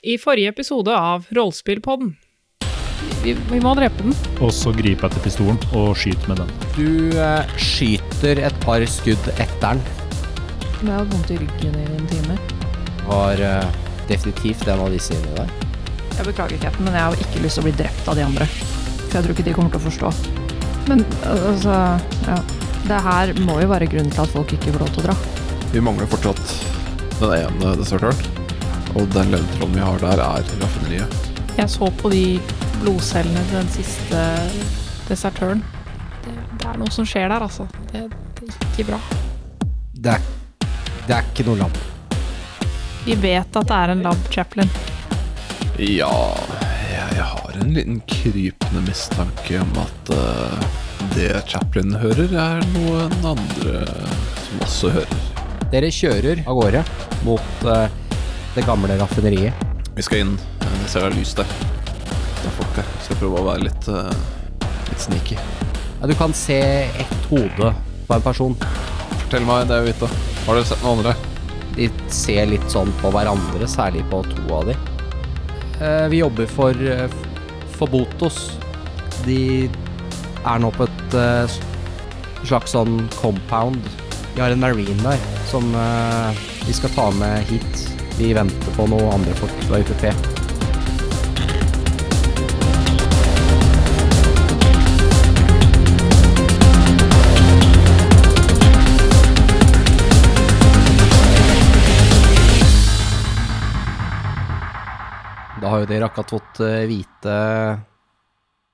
I forrige episode av Rollespillpodden. Vi, vi må drepe den. Og så griper jeg til pistolen og skyter med den. Du eh, skyter et par skudd etter den. Jeg har hatt vondt i ryggen i en time. Var eh, definitivt en av disse inni der. Jeg beklager, Keten, men jeg har ikke lyst til å bli drept av de andre. For jeg tror ikke de kommer til å forstå. Men al- altså Ja. Det her må jo være grunnen til at folk ikke får lov til å dra. Vi mangler fortsatt den ene desertøren. Og den levertrollen vi har der, er raffineriet. Jeg så på de blodcellene til den siste desertøren. Det, det er noe som skjer der, altså. Det, det er ikke bra. Det er, det er ikke noe lam. Vi vet at det er en lab chaplain. Ja, jeg, jeg har en liten krypende mistanke om at eh, det Chaplin hører, er noen andre som også hører. Dere kjører av gårde mot eh, det gamle raffineriet. Vi skal inn. Jeg ser det er lys der. Det er folk der. Skal prøve å være litt, eh, litt sneaky. Ja, du kan se ett hode på en person. Fortell meg, det er jo vita. Har dere sett noen andre? De ser litt sånn på hverandre, særlig på to av de. Eh, Vi jobber for, eh, for Botos. De er nå på et eh, s- slags sånn compound. De har en marine der som eh, de skal ta med hit. Vi venter på noen andre folk fra UPP. Da har jo dere akkurat fått eh, vite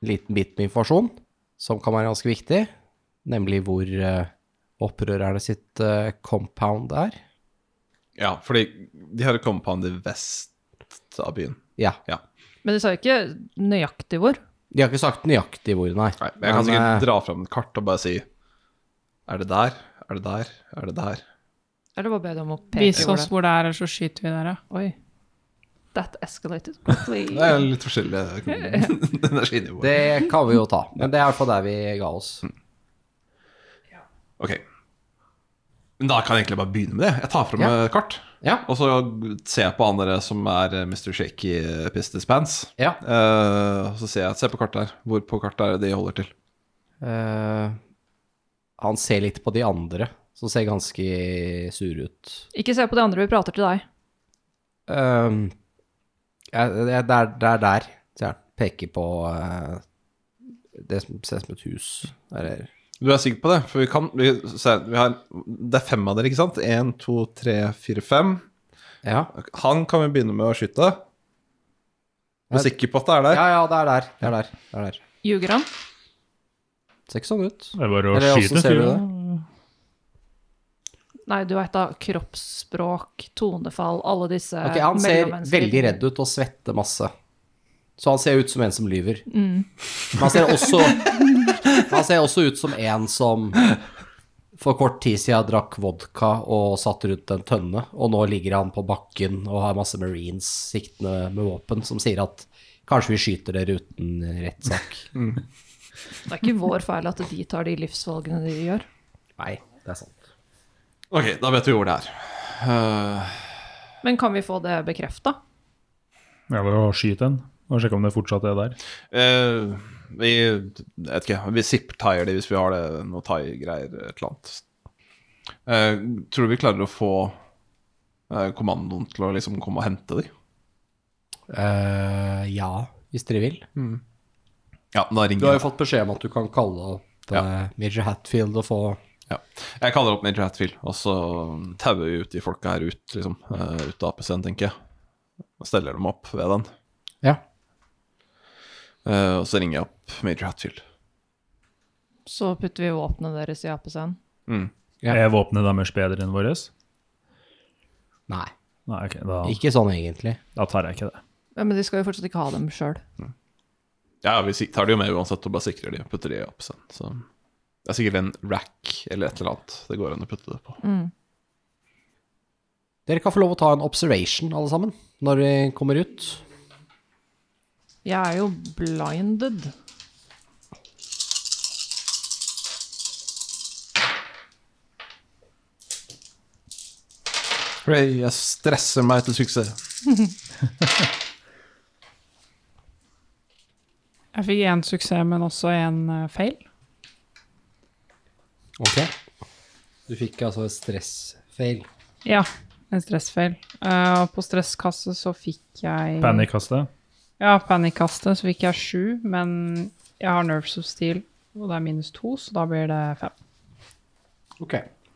en liten bit med informasjon som kan være ganske viktig, nemlig hvor eh, opprørerne sitt eh, compound er. Ja, fordi de har et compound i vest av byen. Ja. Ja. Men de sa jo ikke nøyaktig hvor. De har ikke sagt nøyaktig hvor, nei. Nei, men jeg kan Men, sikkert eh, dra fram et kart og bare si Er det der? Er det der? Er det der? Eller bare be dem å peke Vis hvor oss det hvor det er, eller så skyter vi dere. Oi. That escalated Det quickly. er litt forskjellig eh, energinivå. Det kan vi jo ta, men det er i hvert fall der vi ga oss. Mm. Ok. Men da kan jeg egentlig bare begynne med det. Jeg tar fram Ja. et kart. Ja. Og så ser jeg på han der som er eh, Mr. Shaky Pistis Pants. Ja. Eh, og så ser jeg Se på kartet her. Hvor på kartet er det de holder til? Eh, han ser litt på de andre, som ser ganske sure ut. Ikke se på de andre, vi prater til deg. Ehm, ja, det er der, det er der, sier han. Peker på eh, det som ser ut som et hus. Der er Du er sikker på det? For vi kan vi, se, vi har, Det er fem av dere, ikke sant? Én, to, tre, fire, fem. Ja. Han kan vi begynne med å skyte. Du er sikker på at det er der? ja, ja, det er der. Det er der. Det er der. Ljuger han? Ser ikke sånn ut. Det er bare å Eller skyte, åssen ser du sier det? jeg. Nei, du veit da. Kroppsspråk, tonefall, alle disse Ok, Han ser mellommenneskelige- veldig redd ut og svetter masse. Så han ser ut som en som lyver. Men han ser også Han ser også ut som en som for kort tid siden drakk vodka og satt rundt en tønne, og nå ligger han på bakken og har masse marines siktende med våpen som sier at kanskje vi skyter dere uten rettssak. Det er ikke vår feil at de tar de livsvalgene de gjør. Nei, det er sant. Ok, da vet vi hvor det er. Men kan vi få det bekrefta? Det er bare å skyte en og sjekke om det fortsatt er der. Eh, vi jeg vet ikke, vi zip-tier det hvis vi har det, noe thai-greier, et eller annet. Eh, tror du vi klarer å få eh, kommandoen til å liksom komme og hente de? Eh, ja, hvis dere vil. Ja, da Du har ringer jo jeg. fått beskjed om at du kan kalle opp ja. Major Hatfield og få Ja. Jeg kaller opp Major Hatfield, og så tauer vi ut de folka her ut, liksom. eh, ut av APC-en, tenker jeg. Og steller dem opp ved den. Ja. Eh, og så ringer jeg opp Major Hatfield. Så putter vi våpnene deres i apescenen. Ja. Er våpenet deres bedre enn vårt? Nei, Nei, ok, da, ikke sånn egentlig. da tar jeg ikke det. Ja, men de skal jo fortsatt ikke ha dem sjøl. Ja, vi sik- tar det jo med uansett og bare sikrer de og putter de i APC-en. Så det er sikkert en rack eller et eller annet det går an å putte det på. Dere kan få lov å ta en observation, alle sammen, når vi kommer ut. Jeg er jo blinded. Hooray, jeg stresser meg til suksess. Jeg fikk én suksess, men også en eh, feil. Ok. Du fikk altså stressfeil. Ja, en stressfeil. Eh, og på stresskasse så fikk jeg Panic-kaste. Ja, panikkastet, så fikk jeg sju, men jeg har nerves of steel, og det er minus to, så da blir det fem. Ok.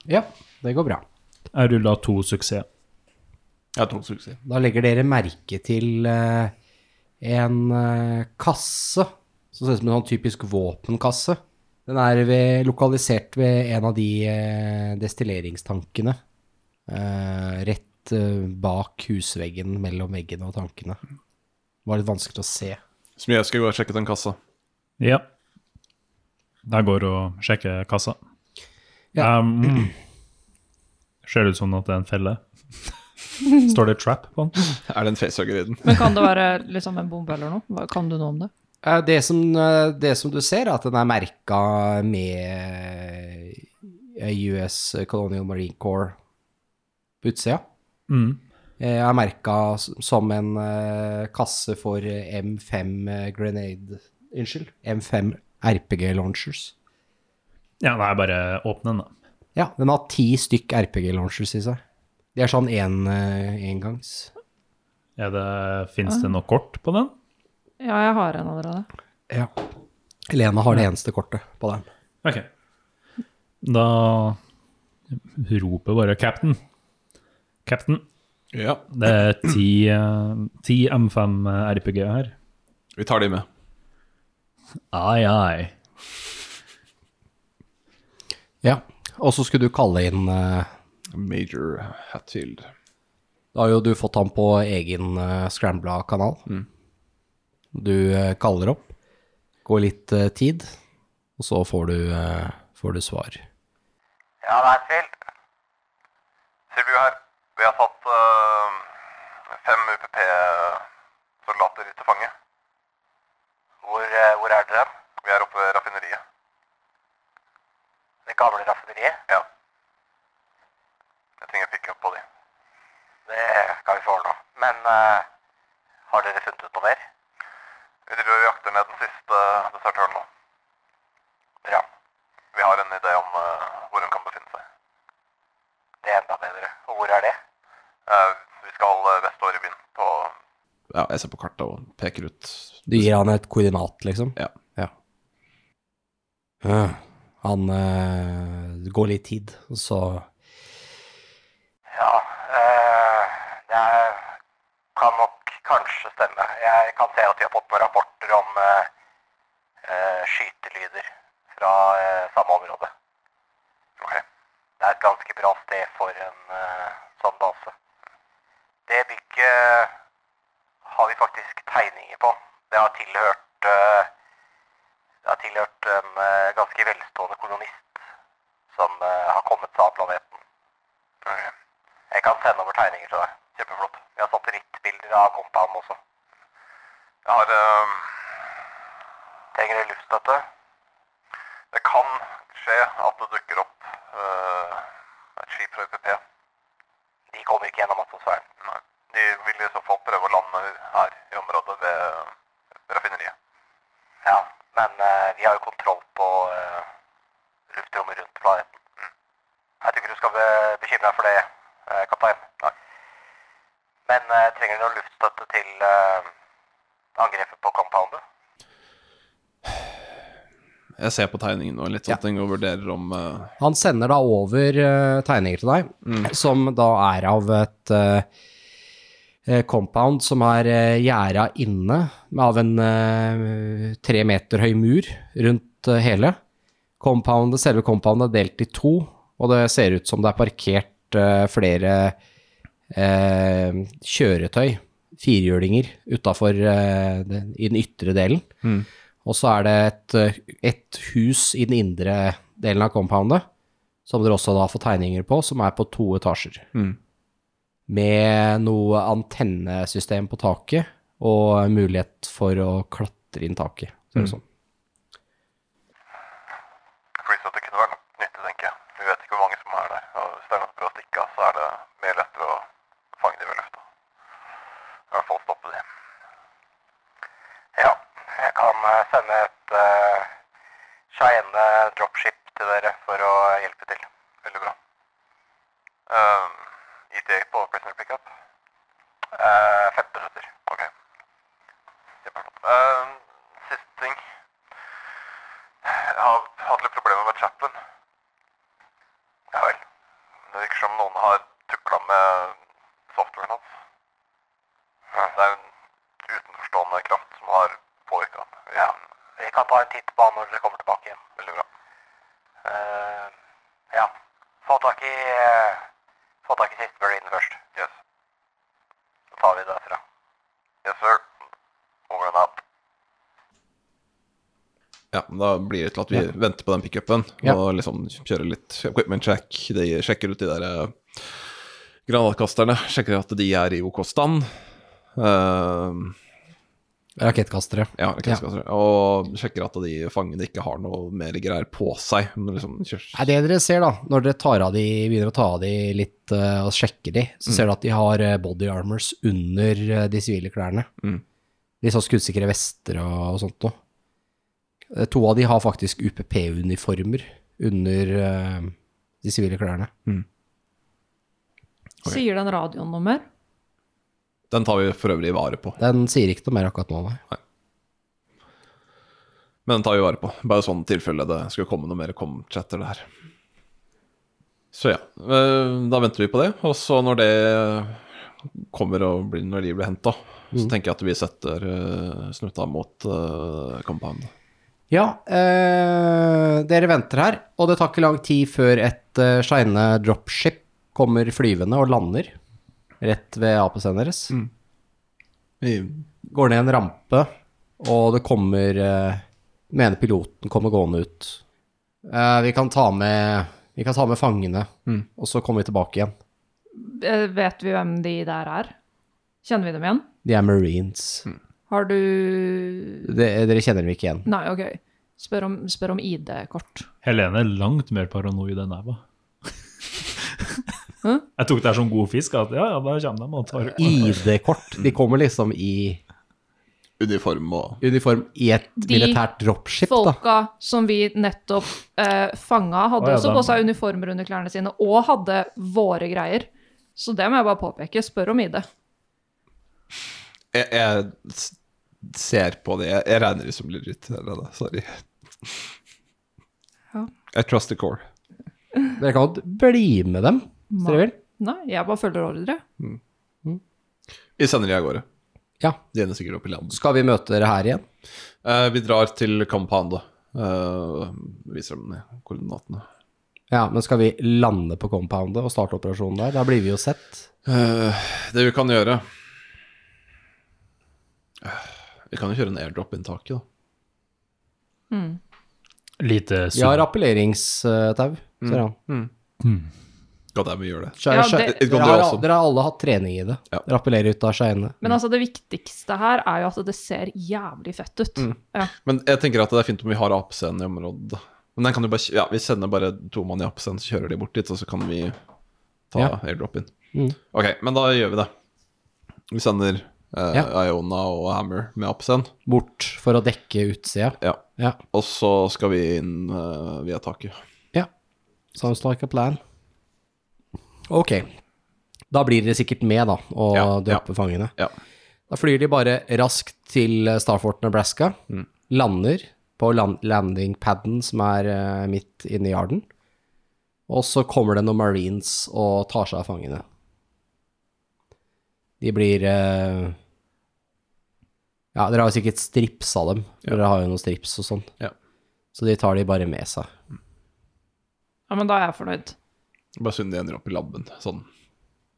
Ja, det går bra. Jeg rulla to suksess. Jeg tok suksess. Da legger dere merke til eh, en eh, kasse som ser ut som en sånn typisk våpenkasse. Den er ved, lokalisert ved en av de eh, destilleringstankene eh, rett eh, bak husveggen mellom veggene og tankene. Det var litt vanskelig å se. Smye skal gå og sjekke den kassa. Ja. Jeg går og sjekker kassa. Ja. Um, ser det ut som at det er en felle? Står det 'trap' på den? Er det en facehugger i den? Men kan det være liksom en bombe eller noe? Hva- Kan du noe om det? Eh, Det som, eh, det som du ser, er at den er merka med eh, US Colonial Marine Corps på utsida. Mm. Eh, er merka som en eh, kasse for eh, M5 eh, Grenade Unnskyld. M5 RPG Launchers. Ja, nei, bare åpne den, da. Ja, den har ti stykk RPG Launchers i seg. De er sånn en, eh, engangs. Er det, finnes det noe kort på den? Ja, jeg har en allerede. Ja. Lena har det eneste kortet på den. Ok. Da roper bare 'Captain'. Captain, Ja. det er ti, eh, ti eh, M5 RPG her. Vi tar de med. Ai, ai. Ja. Og så skulle du kalle inn eh, Major Hatfield. Da har jo du fått han på egen uh, Scrambla-kanal. Du eh, kaller opp, går litt eh, tid, og så får du, eh, får du svar. Ja, det er feil. Sibu her. Vi har tatt eh, fem UPP-soldater til fange. Hvor, eh, hvor er dere? Vi er oppe ved raffineriet. Det gamle raffineriet? Ja. Jeg trenger pick-up på de. Det skal vi få ordna. Men eh, har dere funnet ut noe mer? Vi driver og jakter ned den siste desertøren nå. Bra. Vi har en idé om eh, hvor hun kan befinne seg. Det er enda bedre. Og hvor er det? vi skal uh, vestover i byen, på Ja, jeg ser på kartet og peker ut. Du gir han et koordinat, liksom? Ja. Eh, han eh, Det går litt tid, og så Ja, eh, det er, kan nok kanskje stemme. Jeg kan se at de har fått noen rapporter om eh, eh, skytelyder fra eh, samme område. Ok. Det er et ganske bra sted for en eh, sånn base. Det bygget eh, har vi faktisk tegninger på. Det har tilhørt, eh, det har tilhørt en eh, ganske velstående kolonist som eh, har kommet seg av planeten. Jeg kan sende over tegninger til deg. Kjempeflott. Vi har satellittbilder av compound også. Jeg har um... Trenger du luftstøtte? Det kan skje at det dukker opp eh, et skip fra UPP. De kommer ikke gjennom atmosfæren. Nei. De vil i så fall prøve å lande her i området ved eh, raffineriet. Ja, men eh, vi har jo kontroll på eh, luftrommet rundt planeten. Jeg tror ikke du skal be- bekymre deg for det, eh, kaptein. Men eh, trenger du noe luftstøtte til eh, angrepet på compoundet? Jeg ser på tegningen og litt sånne ting og vurderer om eh, Han sender da over eh, tegninger til deg, som da er av et eh, eh, compound som er uh, gjerda inne med av en eh, tre meter høy mur rundt eh, hele. Compoundet, selve compoundet er delt i to, og det ser ut som det er parkert eh, flere eh, kjøretøy, firehjulinger, utafor eh, den- i den ytre delen. Og så er det et, eh, et hus i den indre delen av compoundet, som dere også da får tegninger på, som er på to etasjer. Med noe antennesystem på taket, og mulighet for å klatre inn taket. Så er det sånn. Flystøtte kunne vært nyttig, tenker jeg. Vi vet ikke hvor mange som er der. Og hvis det er noen som prøver å stikke av, så er det mye lettere å fange dem ved lufta. I hvert fall stoppe dem. Ja, jeg kan eh, sende et uh, Cheyenne dropship til dere for å hjelpe til. Veldig bra. Um, IT på prisoner pickup? Uh, 15 minutter. Ok. Kjempeflott. Um, siste ting. Jeg har hatt litt problemer med Chaplin. Ja vel. Det virker som noen har tukla med softwaren hans. Det er en utenforstående kraft som har påvirka den. Ja. Vi kan ta en titt på han når dere kommer tilbake igjen. Veldig bra. ja. Få tak i eh, Få tak i siste marine først. Yes. Så tar vi det derfra. Yes, sir. Over and out. Ja, men da blir det til at vi venter på den pickupen Ja. og liksom kjører litt equipment check. De sjekker ut de der eh, granatkasterne, sjekker at de er i OK stand. Eh, Rakettkastere. ja, rakettkastere. altså. Og sjekker at de fangene ikke har noe mer greier på seg. Men Liksom, kjørs- Nei, det dere ser da, når dere tar av de, begynner å ta av de litt eh, og sjekker de, så ser du at de har eh, body armors under eh, de sivile klærne. Mm. De sånn skuddsikre vester og, og sånt noe. Eh, To av de har faktisk UPP-uniformer under eh, de sivile klærne. Sier den radioen noe mer? Den tar vi for øvrig vare på. Den sier ikke noe mer akkurat nå, nei. Men den tar vi vare på. Bare sånn tilfelle det skulle komme noe mer kom-chatter der. Så ja, eh, da venter vi på det. Og så når det kommer og blir når de blir henta, så tenker jeg at vi setter eh, snuta mot uh, compound. Ja, eh, dere venter her, og det tar ikke lang tid før et eh, shine dropship kommer flyvende og lander rett ved AP-scenen deres. Vi går ned en rampe, og det kommer eh, Mener piloten kommer gående ut. Eh, vi, kan ta med, vi kan ta med fangene, og så kommer vi tilbake igjen. Eh, Vet vi hvem de der er? Kjenner vi dem igjen? De er marines. Har du Det, dere kjenner dem ikke igjen. Nei, OK. Spør om, spør om ID-kort. Helene er langt mer paranoid enn jeg var. Hæ? Jeg tok det her som god fisk. At ja, ja, da kommer de og tar ID-kort. De kommer liksom i uniform og uniform i et De- militært dropship, da. Folka som vi nettopp eh, fanga, Å, hadde ja, også den- på seg uniformer under klærne sine, og hadde våre greier. Så det må jeg bare påpeke. Spør om ID. Jeg, jeg s- ser på det. Jeg, jeg regner det som lureritt. Sorry. Ja. I trust the core. Dere kan godt bli med dem, hvis dere vil. Nei, jeg bare følger ordre. Vi sender de av gårde. Ja. De ender sikkert opp i land. Skal vi møte dere her igjen? Eh, vi drar til compoundet. Uh, viser dem koordinatene. Ja, men skal vi lande på compoundet og starte operasjonen der? Da blir vi jo sett. Eh, det vi kan gjøre Eh, Vi kan jo kjøre en airdrop-inntaket, da. Lite Vi har sunn. appelleringstau, ser han. God damn, vi gjør det. Skjær, Ja, skjær. det- It dere, gone har, the awesome. dere har alle hatt trening i det. Ja. Dere appellerer ut av Skeiene. Men altså, det viktigste her er jo at det ser jævlig fett ut. Ja. Men jeg tenker at det er fint om vi har apescenen i området. Men den kan jo bare, ja, vi sender bare to mann i apescenen, så kjører de bort dit, og så kan vi ta Ja. airdrop-in. Mm. Ok, men da gjør vi det. Vi sender eh, Ja. Iona og Hammer med apescenen. Bort for å dekke utsida. Ja. Ja. Og så skal vi inn eh, via taket. ja. Sounds like a plan. Ok. Da blir dere sikkert med, da, og Ja, døper fangene. Ja. Da flyr de bare raskt til eh, Starfort Nebraska, Mm. lander på land landingpadden som er eh, midt inne i yarden, og så kommer det noen marines og tar seg av fangene. De blir eh, Ja, dere har jo sikkert strips av dem, for dere har jo noen strips og sånn. Ja. Så de tar de bare med seg. ja, men da er jeg fornøyd. Bare synd de ender opp i labben, sånn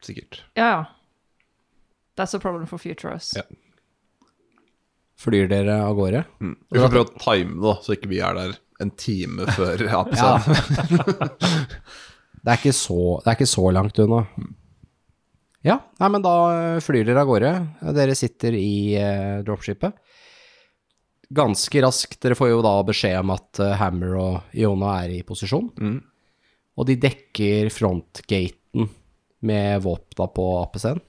sikkert. Ja, ja. That's a problem for future us. Ja. Flyr dere av gårde? Vi får prøve å time det, da, så ikke vi er der en time før Ja. apescenen. Det er ikke så, det er ikke så langt unna. Ja, nei, men da eh, flyr dere av gårde. Dere sitter i eh, dropshipet. Ganske raskt, dere får jo da beskjed om at eh, Hammer og Iona er i posisjon. Og de dekker frontgaten med våpna på apescenen.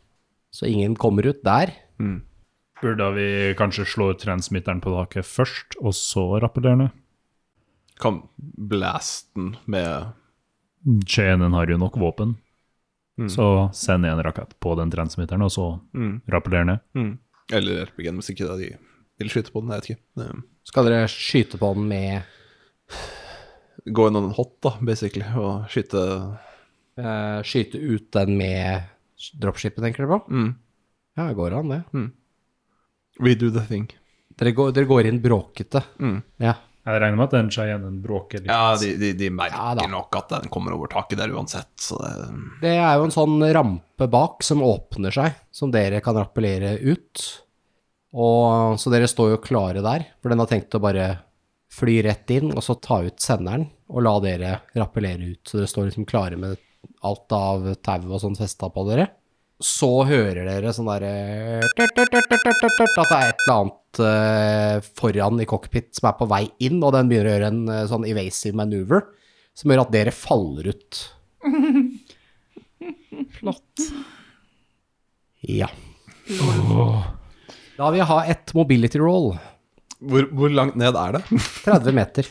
Så ingen kommer ut der. Burde vi kanskje slå ut transmitteren på taket først, og så rappellere ned? Kan blaste den med Cheyenne har jo nok våpen, så send en rakett på den transmitteren, og så rappellere ned. Eller RPG-en, hvis ikke de vil skyte på den. Jeg vet ikke. Det- Skal dere skyte på den med Gå inn on hot, da, basically, og skyte eh, Skyte ut den med dropshipet, tenker dere på? Mm. Ja, det går an, det. We do the thing. Dere går, dere går inn bråkete. Mm. Ja. Jeg regner med at den Cheyennen bråker litt. Ja, de, de, de merker Ja da. nok at den kommer over taket der uansett, så det Det er jo en sånn rampe bak som åpner seg, som dere kan rappellere ut. Og, så dere står jo klare der, for den har tenkt å bare fly rett inn, og så ta ut senderen, og la dere rappellere ut. Så dere står liksom klare med alt av tau og sånn festa på dere. Så hører dere sånn derre At det er et eller annet eh, foran i cockpit som er på vei inn, og den begynner å gjøre en eh, sånn evasive maneuver som gjør at dere faller ut. Flott. Ja. Da vil jeg ha ett mobility roll. Hvor, hvor langt ned er det? 30 meter.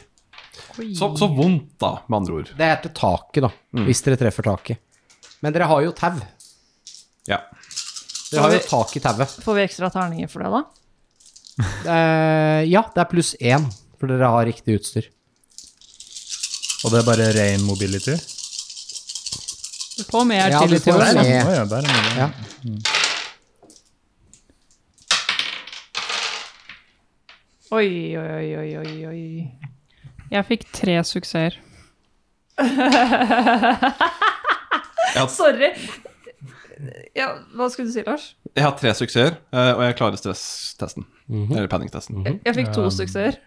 Så, så vondt, da, med andre ord. Det er til taket, da. Hvis dere treffer taket. Men dere har jo tau. Ja. Dere har jo tak i tauet. Får vi ekstra terninger for det, da? Eh, ja, det er pluss én, for dere har riktig utstyr. Og det er bare ren mobility? Du får mer Ja, til du får for mer. det. Eh. Å ja, der er det. Ja. Oi, oi, oi, oi, oi, oi. Jeg fikk tre suksesser. Ja. Sorry. Ja, hva skulle du si, Lars? Jeg har tre suksesser, eh, og jeg klarer stresstesten. Mhm. Eller panikktesten. Jeg fikk to suksesser.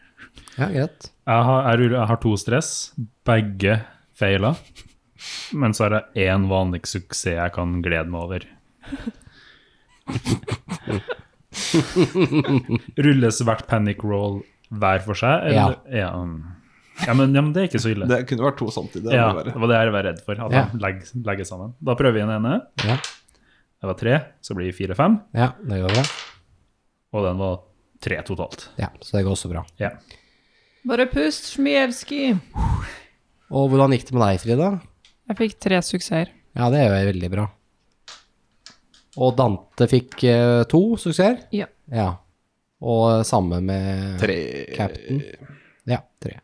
Ja, greit. Jeg har, jeg, ruller- jeg har to stress, begge feila. Men så er det én vanlig suksess jeg kan glede meg over. Rulles hvert panic roll hver for seg? Eller? Ja. Ja, men, ja, men det er ikke så ille. Det kunne vært to samtidig. ja, det må det var være. det jeg var redd for. At Ja. de legger, legger sammen. Da prøver vi den ene. Ja, Det var tre, så blir det fire-fem. ja det går bra. Og den var tre totalt. Ja, så det går også bra. Ja. Bare pust, Smijevskij. Og hvordan gikk det med deg, Frida? Jeg fikk tre suksesser. Ja, det er jo veldig bra. Og Dante fikk eh, to suksesser? Ja. ja. Og samme med Tre Captain. Ja, tre.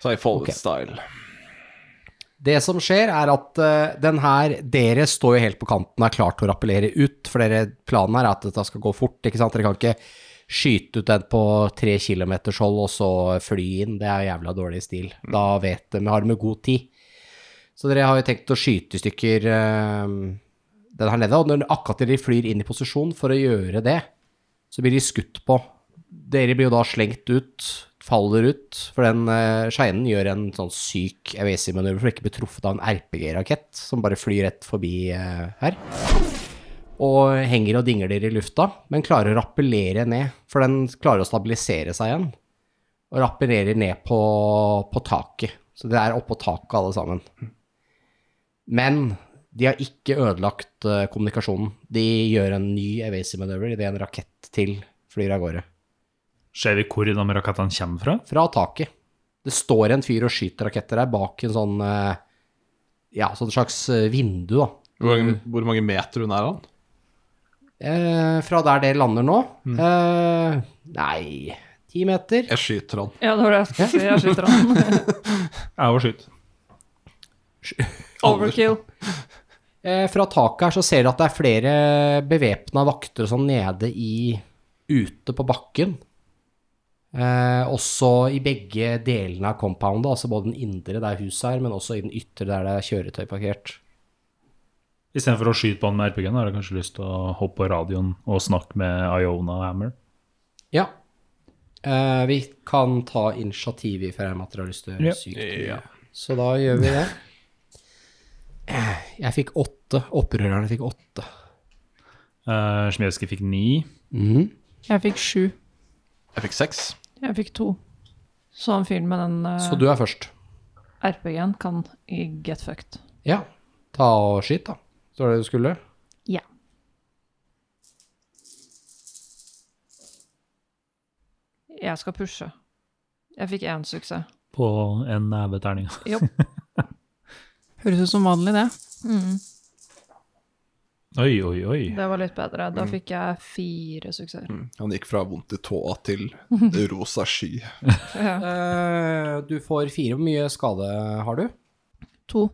Så jeg folded Ok. style. Det som skjer er at eh, den her, dere står jo helt på kanten og er klar til å rappellere ut, for dere, planen her er at dette skal gå fort, ikke sant? Dere kan ikke skyte ut den på tre kilometers hold og så fly inn, det er jævla dårlig stil. Da vet de, har de god tid. Så dere har jo tenkt å skyte i stykker eh, den her nede, og når akkurat dere flyr inn i posisjon for å gjøre det, så blir de skutt på. Dere blir jo da slengt ut, faller ut, for den uh, Cheyennen gjør en sånn syk evasive-manøver for å ikke bli truffet av en RPG-rakett som bare flyr rett forbi eh, her. Og henger og dingler i lufta, men klarer å rappellere ned, for den klarer å stabilisere seg igjen. Og rappellerer ned på, på taket. Så det er oppå taket alle sammen. Men de har ikke ødelagt eh, kommunikasjonen. De gjør en ny evasive manøver idet en rakett til flyr av gårde. Ser vi hvor de rakettene kommer fra? Fra taket. Det står en fyr og skyter raketter der bak en sånn eh, Ja, sånn slags eh, vindu, da. Hvor, Mm. mange- hvor mange meter hun er han? Eh, fra der det lander nå eh, Nei, ti meter? Jeg skyter han. Ja, det var det jeg skulle si. Jeg skyter han. Jeg var skyt. Overkill. Eh, fra taket her så ser du at det er flere bevæpna vakter og sånn nede i Ute på bakken. Eh, også i begge delene av compoundet, altså både den indre der huset er, men også i den ytre der det er kjøretøy parkert. Istedenfor å skyte på han med RPG-en, har jeg kanskje lyst til å hoppe på radioen og snakke med Iona og Hammer. Ja. Eh, vi kan ta initiativ i Ferheim at dere har lyst til å Ja. gjøre sykt mye. Så da gjør vi det. Jeg fikk åtte. Opprørerne fikk åtte. Uh, fikk ni. Jeg fikk sju. Jeg fikk seks. Jeg fikk to. Så han fyren med den Så uh, du er først. RPG-en kan get fucked. Ja. Ta og skyt, da. Så var det du skulle. Ja. Jeg skal pushe. Jeg fikk én suksess. På en neveterning. Høres ut som vanlig, det. Oi, oi, oi. Det var litt bedre. Da fikk jeg fire suksesser. Han gikk fra vondt i tåa til rosa sky. Eh, du får fire. Hvor mye skade har du? To.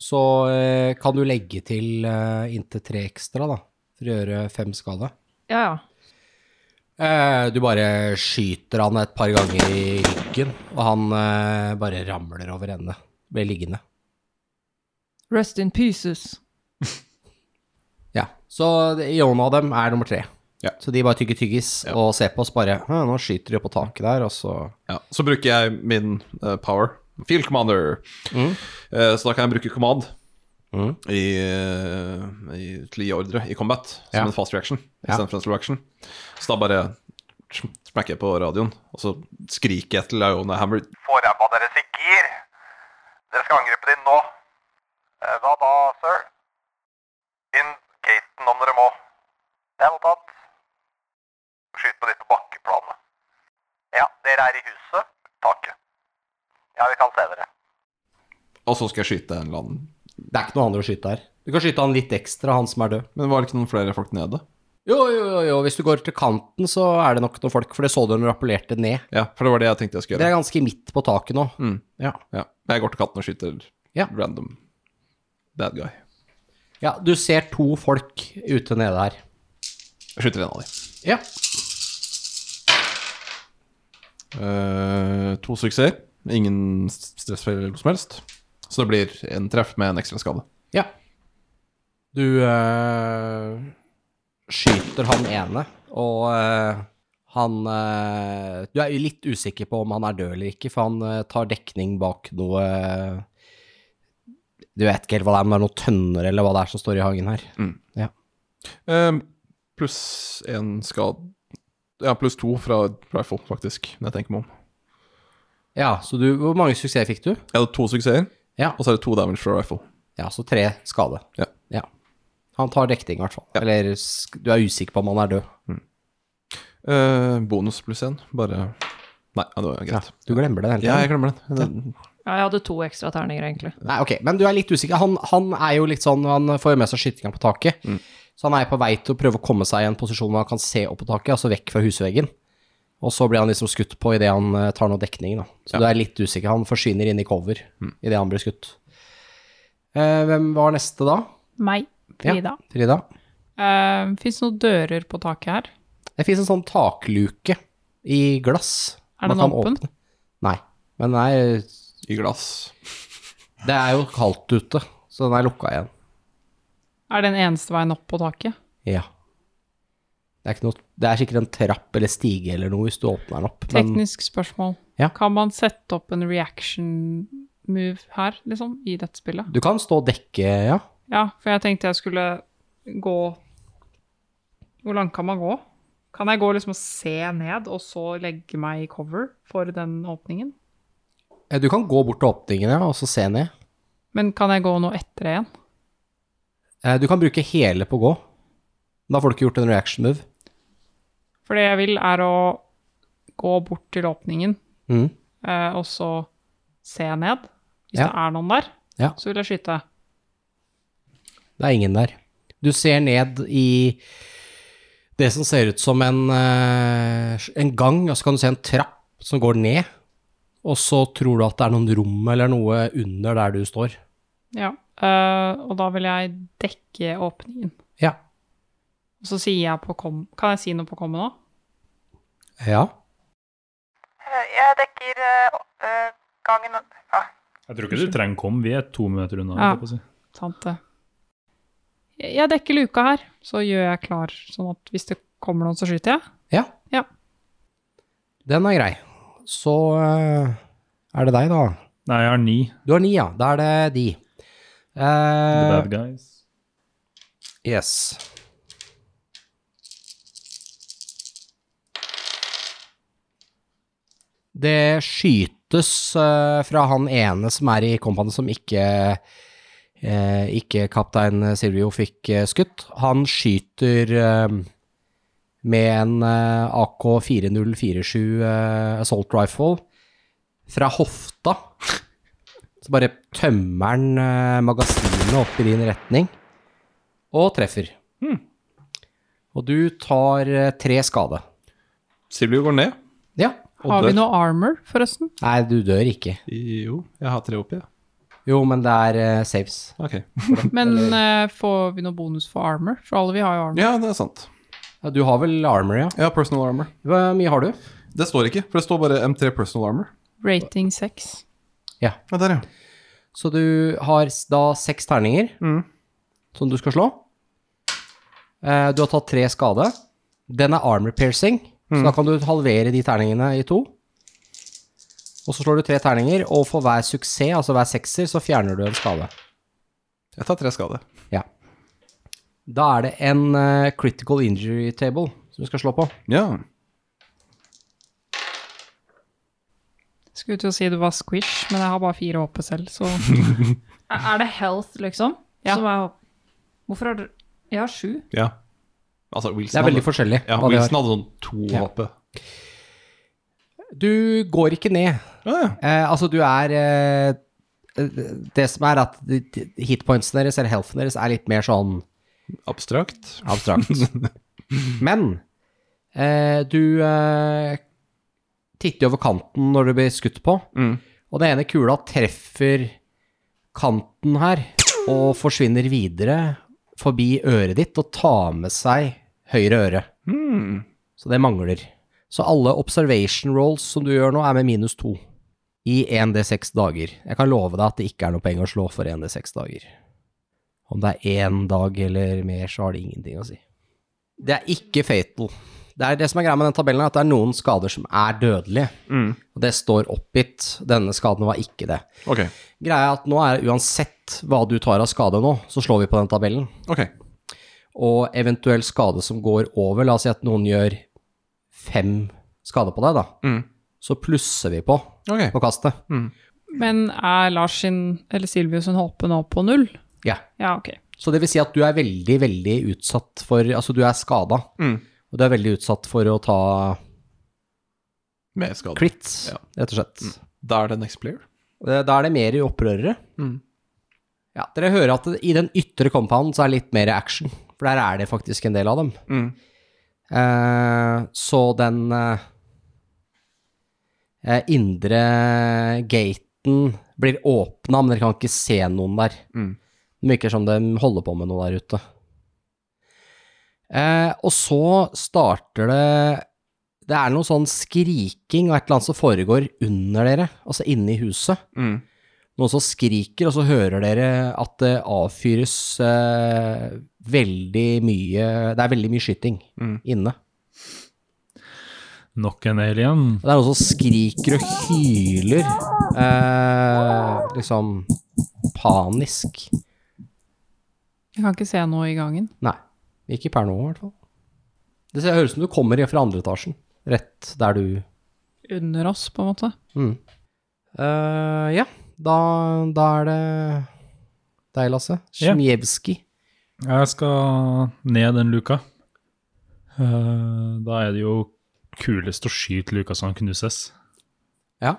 Så eh, kan du legge til eh, inntil tre ekstra, da. For å gjøre fem skade. Ja, ja. Eh, du bare skyter han et par ganger i ryggen, og han eh, bare ramler over ende. Blir liggende. Rest in pieces. Ja. Så det- Jon av dem er nummer tre. Ja. Så de bare tygger tyggis og ser på oss bare «Hm, Nå skyter de på taket der, og så Ja, så bruker jeg min eh, power. Field commander. Eh, så da kan jeg bruke command Mm. i, eh, i, til å gi ordre i combat som Ja. en fast reaction Ja. istedenfor en slow action. Så da bare sm- smekker jeg på radioen, og så skriker jeg til Iona Hammer Få ræva deres i gir! Dere skal angripe dem nå. Eh, Hva da, sir? Inn gaten om dere må. Det er mottatt. Skyt på de på bakkeplanet. Ja, dere er i huset. Taket. Ja, vi kan se dere. Og så skal jeg skyte en eller annen. Det er ikke noen andre å skyte her. Du kan skyte han litt ekstra, han som er død. Men var det ikke noen flere folk nede? Jo, jo, jo, jo. hvis du går til kanten, så er det nok noen folk, for det så du når du appellerte ned. Ja, for det var det jeg tenkte jeg skulle Dere gjøre. er ganske midt på taket nå. Mm. Ja. Ja. Jeg går til katten og skyter Ja. random bad guy. ja, du ser to folk ute nede her. Jeg skyter en av dem. Ja. Eh, to suksesser. Ingen s- stressfeil eller noe som helst. Så det blir en treff med en ekstra skade. Ja. Du eh, skyter han ene, og eh, han eh, Du er jo litt usikker på om han er død eller ikke, for han eh, tar dekning bak noe Du vet ikke helt hva det er, men det er noen tønner eller hva det er som står i hagen her. Eh, pluss én skade Ja, pluss to fra rifle, faktisk, når jeg tenker meg om. Ja, så du Hvor mange suksesser fikk du? Jeg hadde to suksesser, Ja. og så er det to damage fra rifle. Ja, så tre skade. Ja. Han tar dekning, i hvert fall. Eller sk- du er usikker på om han er død. Eh, bonus pluss én, bare Nei, ja, det var Ja, greit. du glemmer det hele Ja, jeg tiden. glemmer den. Den- Ja, jeg hadde to ekstra terninger, egentlig. Nei, ok, men du er litt usikker. Han, han er jo litt sånn Han får jo med seg skytinga på taket. Mm. Så han er på vei til å prøve å komme seg i en posisjon hvor han kan se opp på taket, altså vekk fra husveggen. Og så blir han liksom skutt på idet han eh, tar noe dekning, da. Så du er litt usikker. Han forsvinner inn i cover Mm. idet han blir skutt. Eh, hvem var neste da? Meg. Ja. Frida. Frida? Uh, Fins noen dører på taket her? Det fins en sånn takluke i glass. Er den Man kan åpen? åpne. Nei, men den er, I glass. det er jo kaldt ute, så den er lukka igjen. Er den eneste veien opp på taket? Ja. Det er, ikke noe, det er sikkert en trapp eller stige eller noe hvis du åpner den opp. Men Teknisk spørsmål. Ja. Kan man sette opp en reaction move her, liksom, i dette spillet? du kan stå og dekke, ja. Ja, for jeg tenkte jeg skulle gå Hvor langt kan man gå? Kan jeg gå liksom og se ned, og så legge meg i cover for den åpningen? Eh, Du kan gå bort til åpningen ja, og så se ned. Men kan jeg gå noe etter igjen? Eh, Du kan bruke hele på å gå. Da får du ikke gjort en reaction move. For det jeg vil, er å gå bort til åpningen, Mm. eh, og så se ned. Hvis Ja. det er noen der, Ja. så vil jeg skyte. Det er ingen der. Du ser ned i det som ser ut som en, eh, en gang, og så kan du se en trapp som går ned. Og så tror du at det er noen rom eller noe under der du står. Ja. eh, og da vil jeg dekke åpningen. Ja. Og så sier jeg på kom... Kan jeg si noe på kommet nå? Ja. Eh, Jeg dekker eh, gangen Jeg tror ikke du trenger kom, vi er to minutter unna. Ja. holdt jeg på å si. Sant det. Jeg jeg dekker luka her, så gjør jeg klar, sånn at hvis det kommer noen, så skyter jeg. Ja. Ja. Den er grei. Så eh, er det deg, da. Nei, jeg har ni. Du har ni, ja. Da er det de. The Eh, bad guys. yes. Det skytes eh, fra han ene som er i kompaniet som ikke eh, ikke kaptein Silvio fikk eh, skutt. Han skyter eh, med en eh, AK4047 eh, assault rifle fra hofta. Så bare tømmer han eh, magasinet opp i din retning, og treffer. Og du tar eh, tre skade. Silvio går ned. Ja. Og Har vi dør. noe armor, forresten? Nei, du dør ikke. Jo, jeg har tre oppi. ja. Jo, men det er eh, saves. Ok. Men eh, får vi noe bonus for armor? For alle vi har jo armor. Ja, det er sant. Ja, du har vel armor, ja. Ja, personal armor. Hvor mye har du? Det står ikke, for det står bare M3 personal armor. Rating 6. Ja, der, ja. Så du har s- da seks terninger som du skal slå. Eh, Du har tatt tre skade. Den er armor piercing, så da kan du halvere de terningene i to. Og så slår du tre terninger, og for hver suksess, altså hver sekser, så fjerner du en skade. Jeg tar tre skade. Ja. Da er det en eh, critical injury table som du skal slå på. Ja. Skulle til å si det var squish, men jeg har bare fire HP selv, så Er det health, liksom? Ja. Som er, hvorfor har dere Jeg har sju. ja. Altså, Wilson Det er veldig hadde, forskjellig. ja, hva det Wilson hadde sånn to Ja. HP. er. Du går ikke ned. Ja, ja. Eh, altså, du er eh, Det som er at de- de- hitpointsene deres, eller healthen deres, er litt mer sånn Abstrakt. abstrakt. Men eh, du eh, titter jo over kanten når du blir skutt på, og den ene kula treffer kanten her og forsvinner videre forbi øret ditt og tar med seg høyre øre. Så det mangler. Så alle observation rolls som du gjør nå, er med minus to i 1D6 dager. Jeg kan love deg at det ikke er noe poeng å slå for 1D6 dager. Om det er én dag eller mer, så har det ingenting å si. Det er ikke fatal. Det er det som er greia med den tabellen, er at det er noen skader som er dødelige. Og det står oppgitt. Denne skaden var ikke det. Ok. Greia er at nå er det uansett hva du tar av skade nå, så slår vi på den tabellen. ok. Og eventuell skade som går over, la oss si at noen gjør fem skader på deg, da. Så plusser vi på Ok. på kastet. Men er Lars sin, eller Silvio sin HP nå på null? Ja. Ja, ok. Så det vil si at du er veldig, veldig utsatt for Altså, du er skada. Mm. Og du er veldig utsatt for å ta Mer skade. kritt, Ja. rett og slett. Da er det next player. Eh, Da er det mer i opprørere. Mm. Ja, dere hører at det- i den ytre compounden så er det litt mer action, for der er det faktisk en del av dem. Mm. Eh, så den eh, eh, indre gaten blir åpna, men dere kan ikke se noen der. Mm. Det virker som de holder på med noe der ute. Eh, og så starter det Det er noe sånn skriking og et eller annet som foregår under dere, altså inne i huset Mm. noen som skriker, og så hører dere at det avfyres eh, veldig mye Det er veldig mye skyting Mm. inne. Nok en alien. Og det er noen som skriker og hyler. eh, liksom panisk. Jeg kan ikke se noe i gangen. Nei, ikke per nå, i hvert fall. Det ser høres ut som du kommer fra andre etasjen, rett der du Under oss, på en måte. mm. Eh, Ja, da, da er det deg, Lasse. Ja. Sjmjevskij. Jeg skal ned den luka. Eh, da er det jo kulest å skyte luka så han knuses. Ja.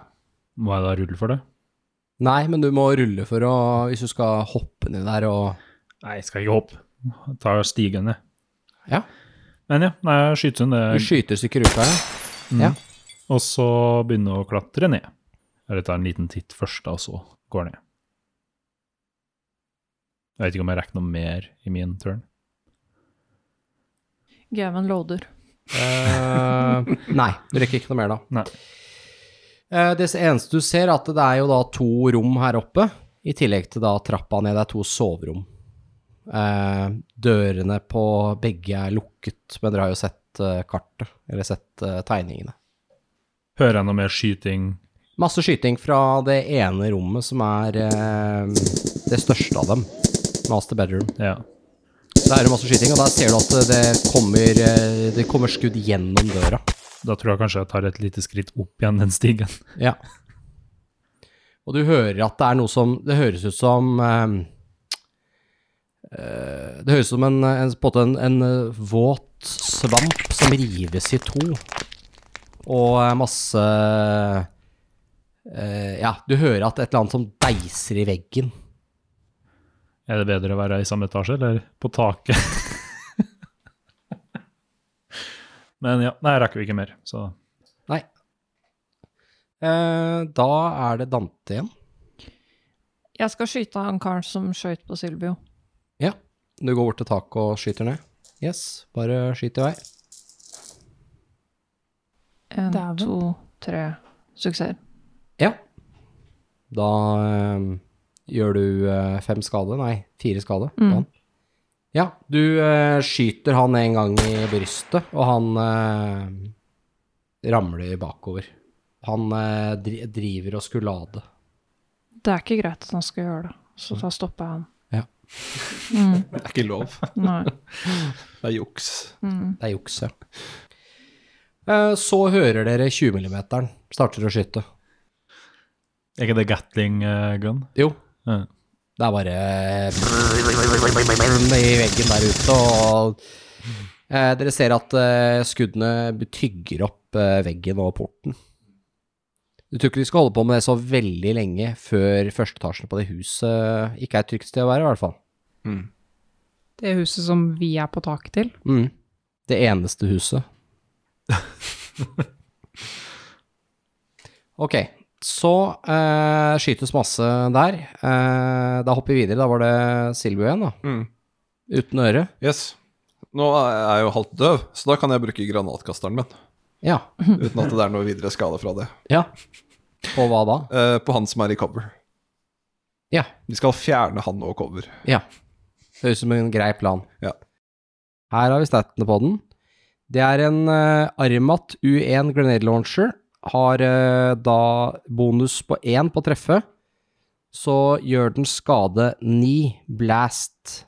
Må jeg da rulle for det? Nei, men du må rulle for å Hvis du skal hoppe ned der og Nei, skal ikke hoppe. Tar stigen ned. Ja. Men ja, nei, jeg skyter hun Du det, skyter stykker ut av Ja. og så begynner hun å klatre ned. Eller tar en liten titt først, da, og så går ned. Jeg vet ikke om jeg rekker noe mer i min turn. Gaven loader. Eh, nei, du rekker ikke noe mer da. Nei. Eh, det eneste du ser, er at det er jo da to rom her oppe, i tillegg til da trappa ned. Det er to soverom. Eh, dørene på begge er lukket, men dere har jo sett eh, kartet, eller sett eh, tegningene. Hører jeg noe mer skyting? Masse skyting fra det ene rommet, som er eh, det største av dem. Master bedroom. Ja. Så er det masse skyting, og der ser du at det kommer, eh, det kommer skudd gjennom døra. Da tror jeg kanskje jeg tar et lite skritt opp igjen den stigen. Ja. Og du hører at det er noe som Det høres ut som ehm, eh, eh, Det høres ut som en, en, på en måte en, en eh, våt svamp som rives i to, og masse eh, Ja, du hører at et eller annet som deiser i veggen. Er det bedre å være i samme etasje, eller på taket? Men ja, nei, jeg rekker jo ikke mer, så Nei. Eh, da er det Dante igjen. Jeg skal skyte han karen som skøyt på Silvio. Ja. Du går bort til taket og skyter ned. Yes, bare skyt i vei. En, Dæven. to, tre. Suksess. Ja. Da eh, gjør du eh, fem skade, nei, fire skade. på han. Ja, du eh, skyter han en gang i brystet, og han eh, ramler bakover. Han eh, dri driver og skulade. Det er ikke greit at han skal gjøre det, så da stopper jeg han. Ja. Det er ikke lov. Nei. Det er juks. Det er juks, ja. Eh, så hører dere 20 mm starter å skyte. Er ikke det Gatling eh, gun? Jo, Ja. Det er bare eh, i veggen der ute, og eh, dere ser at eh, skuddene tygger opp eh, veggen og porten. Du tror ikke de skal holde på med det så veldig lenge før førsteetasjen på det huset ikke er et trygt sted å være, i hvert fall. Det huset som vi er på taket til. Mm. Det eneste huset. ok, så eh, skytes masse der. Eh, da hopper vi videre. Da var det Silvio igjen, da. Mm. Uten øre. Yes. Nå er jeg jo halvt døv, så da kan jeg bruke granatkasteren min. Ja. Uten at det er noe videre skade fra det. ja. På hva da? Eh, på han som er i cover. Ja. Vi skal fjerne han og cover. ja. Høres ut som en grei plan. Ja. Her har vi statene på den. Det er en eh, Armat U1 Grenade Launcher. Har eh, da bonus på én på treffet. Så gjør den skade ni blast.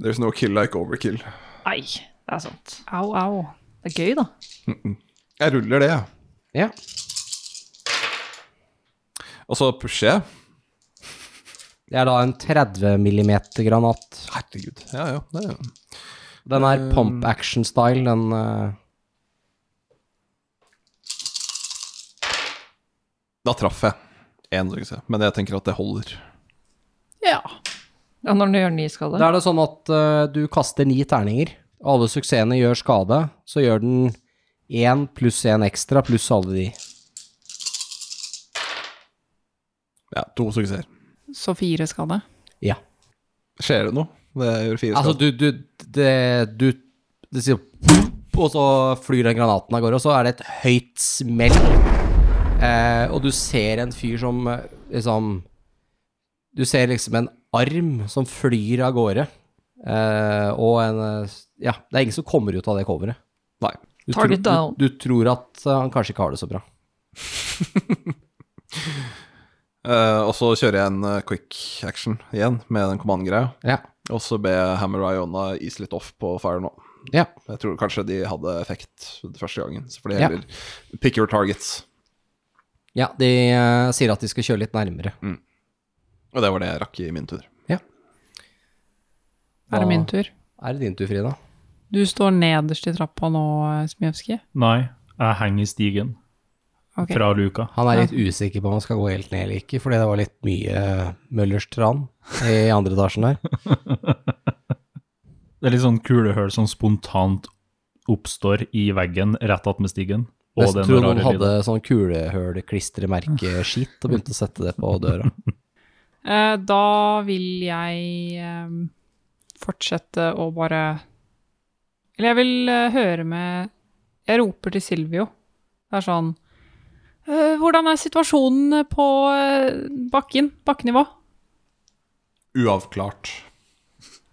There's no kill like overkill. Nei, det er sant. Au, au. Det er gøy, da. Jeg ruller det, jeg. Ja. Og så pusher jeg. Det er da en 30 millimeter granat. Herregud. Ja, ja. Det er jo Den er pump action style, den eh, Da traff jeg én, skal vi si. Men jeg tenker at det holder. Ja. ja når den gjør ni skader. Da er det sånn at eh, du kaster ni terninger. Alle suksessene gjør skade, så gjør den én pluss én ekstra pluss alle de. Ja, to suksesser. Så fire skade. Ja. Skjer det noe? Det gjør fire Altså, du, skader. du, det, du Det sier Og så flyr den granaten av gårde, og så er det et høyt smell. Eh, og du ser en fyr som eh, liksom Du ser liksom en arm som flyr av gårde. Eh, og en eh, Ja, det er ingen som kommer ut av det coveret. Nei. Du, Target tror- down. Du, du tror at eh, han kanskje ikke har det så bra. Eh, og så kjører jeg en eh, quick action igjen med den command-greia. Ja. Og så ber jeg Hammer Iona is litt off på fire nå. Ja. Jeg tror kanskje de hadde effekt den første gangen. Så får de Ja. heller pick your targets. Ja, de eh, sier at de skal kjøre litt nærmere. Og det var det jeg rakk i min tur. Er Hva- det min tur? Er det din tur, Frida? Du står nederst i trappa nå, Smjevskij. Nei, jeg henger i stigen Ok. fra luka. Han er litt usikker på om han skal gå helt ned eller ikke, fordi det var litt mye eh, Møllers tran i andre etasjen der. Det er litt sånn kulehull som spontant oppstår i veggen rett attmed stigen. Og Jeg den tror rare noen hadde lyden. sånn kulehøl-klistremerke-skit og begynte å sette det på døra. Eh, Da vil jeg eh, fortsette å bare Eller jeg vil eh, høre med Jeg roper til Silvio. Det er sånn «Eh, Hvordan er situasjonen på eh, bakken? Bakkenivå? Uavklart.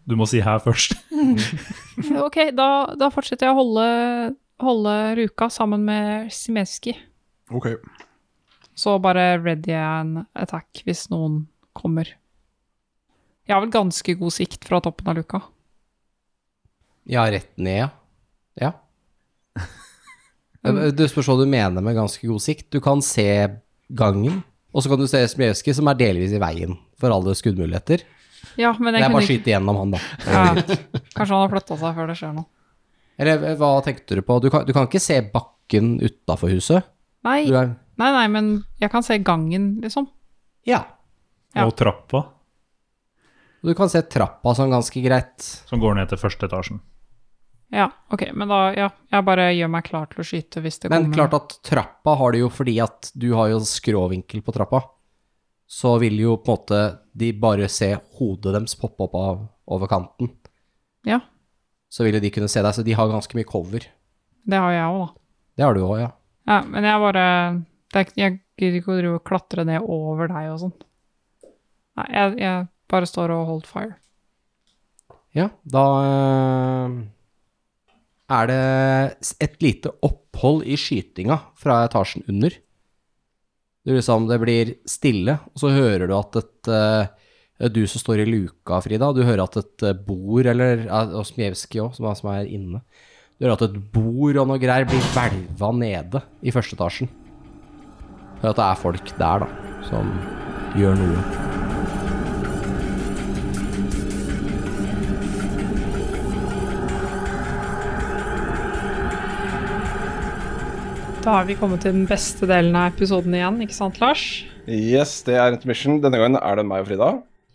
Du må si her først. Eh, Ok, da, da fortsetter jeg å holde, holde ruka sammen med Simeski. Ok. Så bare ready an attack hvis noen kommer. Jeg har vel ganske god sikt fra toppen av luka. Ja, rett ned, ja. Ja. Eh, Du spørs hva du mener med ganske god sikt. Du kan se gangen, og så kan du se Smjevskij, som er delvis i veien for alle skuddmuligheter. Ja, men jeg Jeg kunne bare ikke skyter gjennom han, da. ja. Kanskje han har flytta seg før det skjer noe. Eller eh, hva tenkte du på? Du kan, du kan ikke se bakken utafor huset? Nei, Du er, nei, nei, men jeg kan se gangen, liksom. ja. Ja. Og trappa Du kan se trappa sånn ganske greit. som går ned til første etasjen. Ja, ok, men da Ja, jeg bare gjør meg klar til å skyte hvis det Men kommer klart at trappa har du jo fordi at du har jo skråvinkel på trappa. Så vil jo på en måte de bare se hodet deres poppe opp av over kanten. Ja, Så vil jo de kunne se deg, så de har ganske mye cover. det har jeg òg, da. Det har du òg, ja. Ja, men jeg bare det er, ikke- Jeg gidder ikke å drive og klatre ned over deg og sånn. Nei, jeg, jeg bare står og hold fire. Ja, da eh, er det s- et lite opphold i skytinga fra etasjen under. Det, er liksom, det blir stille, og så hører du at et eh, Du som står i luka, Frida, du hører at et eh, bord, eller ja, og Smjevskij òg, som, er- som er inne Du hører at et bord og noe greier blir hvelva nede i første etasjen. Hører at det er folk der, da, som gjør noe. Da har vi kommet til den beste delen av episoden igjen, ikke sant, Lars? Yes, det er intermission. Denne gangen er det meg og Frida.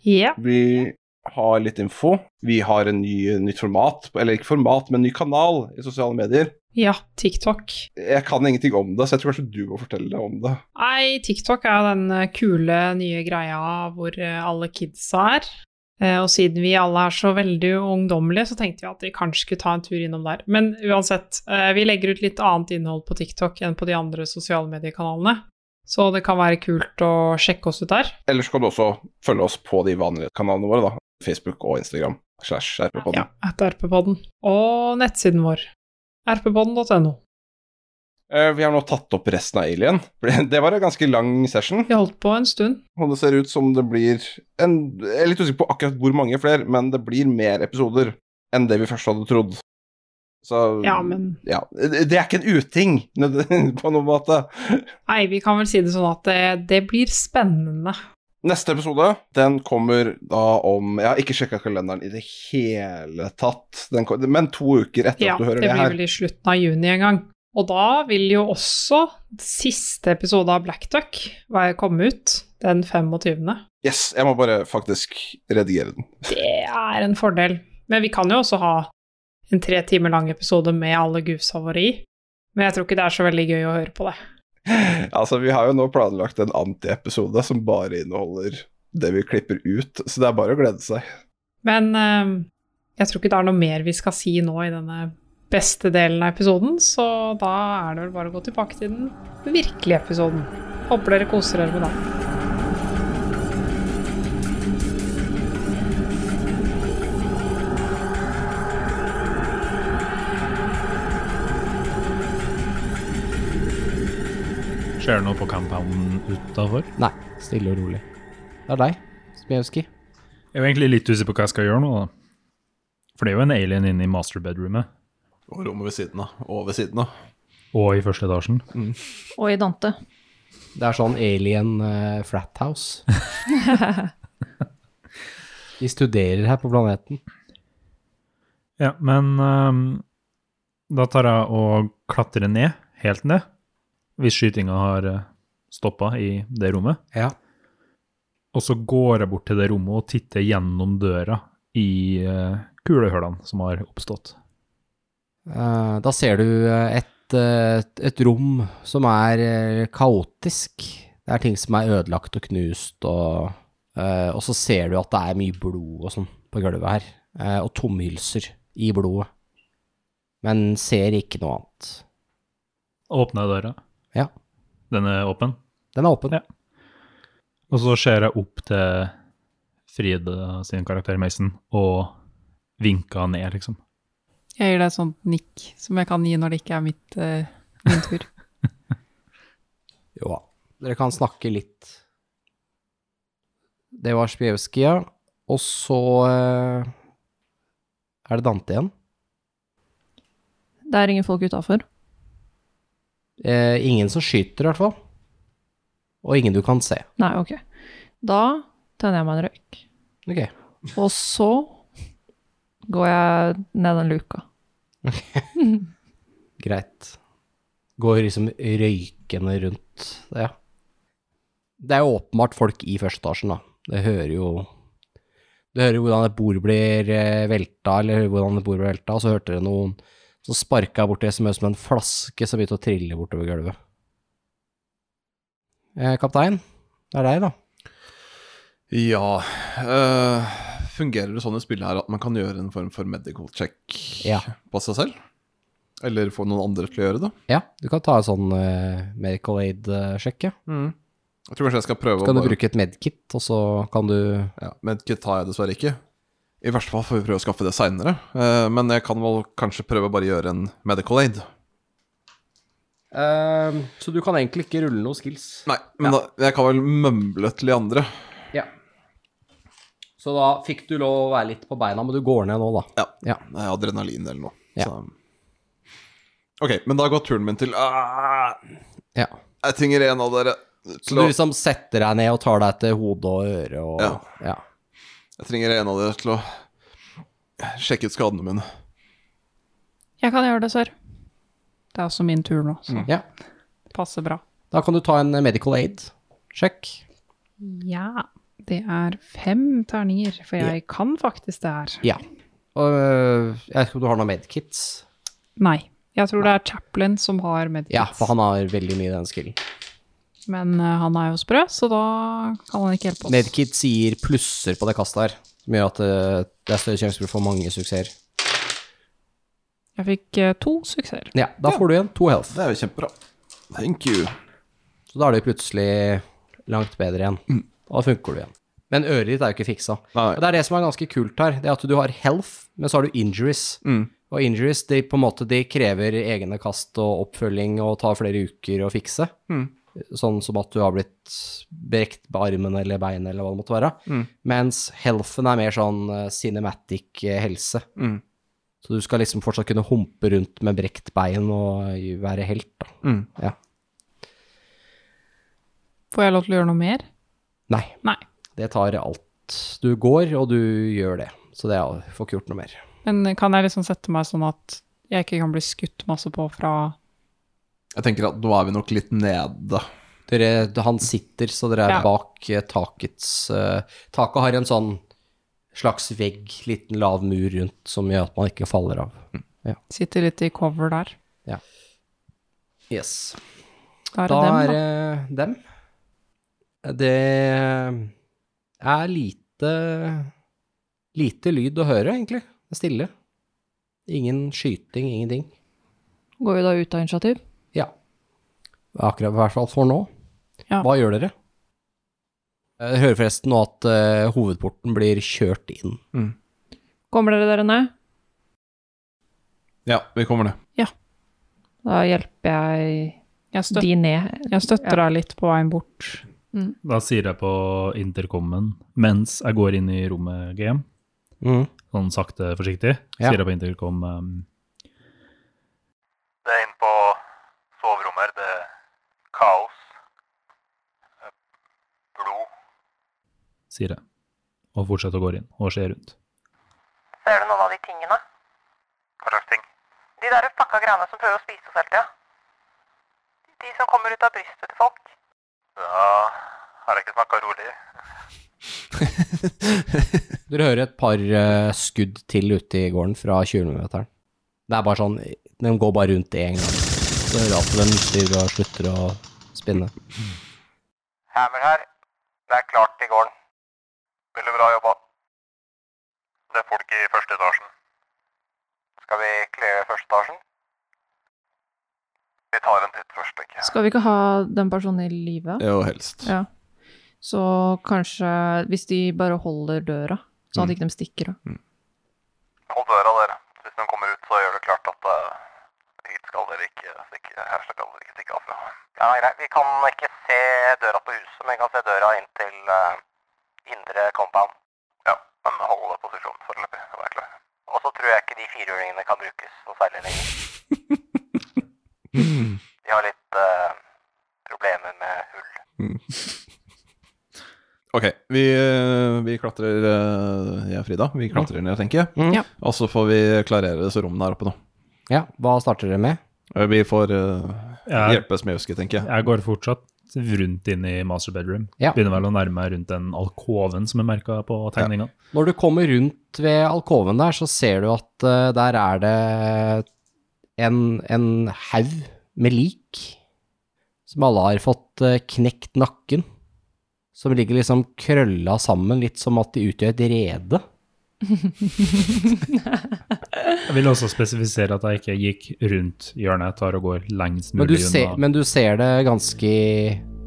Ja. Vi har litt info. Vi har en ny, nytt format, eller ikke format, men en ny kanal i sosiale medier. Ja, TikTok. Jeg kan ingenting om det, så jeg tror kanskje du må fortelle om det. Nei, TikTok er jo den eh, kule nye greia hvor eh, alle kidsa er. Eh, Og siden vi alle er så veldig ungdommelige, så tenkte vi at vi kanskje skulle ta en tur innom der. Men uansett, eh, vi legger ut litt annet innhold på TikTok enn på de andre sosiale mediekanalene. Så det kan være kult å sjekke oss ut der. Ellers kan du også følge oss på de vanlige kanalene våre, da. Facebook og Instagram. Slash RP-podden. Ja, etter RP-podden. Og nettsiden vår. rppodden.no. Eh, Vi har nå tatt opp resten av Alien. Det var en ganske lang session, Vi holdt på en stund. og det ser ut som det blir en Jeg er litt usikker på akkurat hvor mange flere, men det blir mer episoder enn det vi først hadde trodd. Så Ja, men ja. Det det er ikke en uting, nød- på noen måte. Nei, vi kan vel si det sånn at det, det blir spennende. Neste episode den kommer da om Jeg har ikke sjekka kalenderen i det hele tatt, den, kom- men to uker etter Ja, at du hører det det, blir her. vel i slutten av juni en gang. Og da vil jo også siste episode av Black Duck være- komme ut den 25. Yes, jeg må bare faktisk redigere den. Det er en fordel. Men vi kan jo også ha en tre timer lang episode med alle goosa våre i. Men jeg tror ikke det er så veldig gøy å høre på det. Altså, vi har jo nå planlagt en antiepisode som bare inneholder det vi klipper ut, så det er bare å glede seg. Men eh, jeg tror ikke det er noe mer vi skal si nå i denne beste delen av episoden, så da er det vel bare å gå tilbake til den virkelige episoden. Håper dere koser dere med det. Skjer det noe på compounden utafor? Nei, stille og rolig. Det er deg, Smjevskij. Jeg er jo egentlig litt usikker på hva jeg skal gjøre nå, da. For det er jo en alien inne i masterbedroomet. Og rommet ved siden av. Og ved siden av. Og i første etasjen. Og i Dante. Det er sånn alien eh, flat house. De studerer her på planeten. Ja, men ehm, da tar jeg og klatrer ned, helt ned, hvis skytinga har uh, stoppa i det rommet. Ja. Og så går jeg bort til det rommet og titter gjennom døra i eh, kulehullene som har oppstått. Eh, da ser du eh, et, eh, et rom som er eh, kaotisk. Det er ting som er ødelagt og knust, og, eh, og så ser du at det er mye blod og sånn på gulvet her. eh, og tomhylser i blodet. Men ser ikke noe annet. Åpner jeg døra. Ja, Den er åpen. den er åpen. Ja. Og så ser jeg opp til Frida sin karakter, Mason, og vinker ned, liksom. Jeg gir deg et sånt nikk som jeg kan gi når det ikke er mitt, eh, min tur. Jo da. Dere kan snakke litt. Det var Spjevskij, ja. Og så eh, er det Dante igjen. Det er ingen folk utafor. Eh, ingen som skyter, i hvert fall. Og ingen du kan se. Nei, ok. Da tenner jeg meg en røyk. Ok. Og så går jeg ned den luka. Greit. Går liksom røykende rundt det. Det er jo åpenbart folk i første etasjen, da. Det hører jo Du hører jo hvordan et bord blir eh, velta, eller hører hvordan et bord blir velta, og så hørte dere noen som sparka borti det som høres ut som en flaske som begynte å trille bortover gulvet. Eh, kaptein, det er deg, da. Ja eh, Fungerer det sånn i spillet her at man kan gjøre en form for medical check Ja. på seg selv? Eller få noen andre til å gjøre det? Ja, du kan ta en sånn eh, medical aid-sjekk, ja. Jeg tror kanskje jeg skal prøve Så kan å Mm. du bare- bruke et medkit, og så kan du ja, Medkit har jeg dessverre ikke. I verste fall får vi prøve å skaffe det seinere. men jeg kan vel kanskje prøve å bare gjøre en medical aid. Ehm, Så du kan egentlig ikke rulle noen skills. Nei, men da, jeg kan vel mømle til de andre. Ja. Så da fikk du lov å være litt på beina, men du går ned nå, da. Ja. Ja. Det er adrenalin eller noe. Ja. Så. Ok, men da går turen min til Ah, Ja. Jeg trenger en av dere. Så Til du å, liksom setter deg ned og tar deg til hodet og øret og Ja. ja. jeg trenger en av dere til å sjekke ut skadene mine. Jeg kan gjøre det, sør. Det er også min tur nå, så Ja. passer bra. Da kan du ta en medical aid. Sjekk. Ja. Det er fem terninger, for jeg kan faktisk det her. Ja. Og øh, jeg vet ikke om du har noen medkits. Nei. Jeg tror det er Chaplin som har medkits. Ja, for han har veldig mye i den skillen. Men eh, han er jo sprø, så da kan han ikke hjelpe oss. Medkits gir plusser på det kastet her, som gjør at øh, det er større sjanse for å få mange suksesser. Jeg fikk eh, to suksesser. Ja, da får du igjen to health. Det er jo kjempebra. Thank you. Så da er det plutselig langt bedre igjen. Da funker du igjen. Men øret ditt er jo ikke fiksa. Nei. Og det er det som er ganske kult her, det er at du har health, men så har du injuries. Og injuries de, på en måte, de krever egne kast og oppfølging og tar flere uker å fikse. Sånn som at du har blitt brekt på armen eller beinet eller hva det måtte være. Mens healthen er mer sånn eh, cinematic eh, helse. Mm. Så du skal liksom fortsatt kunne humpe rundt med brekt bein og være helt, da. Mm. Ja. Får jeg lov til å gjøre noe mer? Nei. Nei. Det tar alt. Du går, og du gjør det. Så det er, får ikke gjort noe mer. Men kan jeg liksom sette meg sånn at jeg ikke kan bli skutt masse på fra Jeg tenker at nå er vi nok litt nede. Dere, han sitter, så dere er Ja. bak eh, takets eh, Taket har en sånn slags vegg, liten lav mur rundt, som gjør at man ikke faller av. Sitter litt i cover der. Yes. Da er det Da dem, er da. det dem. Det er lite Lite lyd å høre, egentlig. Det er stille. Ingen skyting, ingenting. Går vi da ut av initiativ? Ja. Akkurat i hvert fall for nå. Ja. Hva gjør dere? Jeg hører forresten nå at eh, hovedporten blir kjørt inn. Kommer dere dere ned? Ja, vi kommer ned. Da hjelper jeg Jeg, støt, de ned. jeg støtter deg litt på veien bort. Da sier jeg på intercomen mens jeg går inn i rommet GM, sånn sakte, forsiktig, Ja. sier jeg på intercom um, Det er inne på soverommet her. Det er kaos. Eh, Blod. sier jeg, og fortsetter å gå inn og se rundt. Ser du noen av de tingene? Hva slags ting? De der fucka greiene som prøver å spise oss hele tida. De som kommer ut av brystet til folk. Ja, har jeg ikke snakka rolig? Dere hører et par eh, skudd til ute i gården fra 20-meteren. Det er bare sånn De går bare rundt én gang. Så hører du at de slutter og slutter å spinne. Hammer her. Det er klart til gården. Veldig bra jobba. Det er folk i første etasjen. Skal vi cleare første etasjen? Vi tar en titt først, tenker jeg. Skal vi ikke ha den personen i live? Jo, helst. Ja. Så kanskje Hvis de bare holder døra, sånn at ikke de stikker av. Hold døra, dere. Hvis noen kommer ut, så gjør det klart at eh, hit skal dere ikke stikke, her skal dere ikke stikke av fra. Ja, greit. Vi kan ikke se døra på huset, men vi kan se døra inn til eh, indre compound. Ja, men hold posisjonen foreløpig. Vær klar. Og så tror jeg ikke de firehjulingene kan brukes noe særlig lenger. De har litt eh, problemer med hull. Ok, vi, eh, vi klatrer eh, jeg og Frida. Vi klatrer ned, tenker jeg. Mm. Ja. Og så får vi klarere disse rommene her oppe nå. Ja, hva starter dere med? Eh, Vi får eh, Jeg, hjelpes med husket, tenker jeg. jeg går fortsatt rundt inn i master bedroom. Ja. Begynner vel å nærme meg rundt den alkoven som er merka på tegninga. Når du kommer rundt ved alkoven der, så ser du at eh, der er det en, en haug med lik, som alle har fått eh, knekt nakken, som ligger liksom krølla sammen, litt som at de utgjør et rede. Jeg vil også spesifisere at jeg ikke gikk rundt hjørnet. Jeg tar og går lengst Men du, mulig ser, unna. men du ser det ganske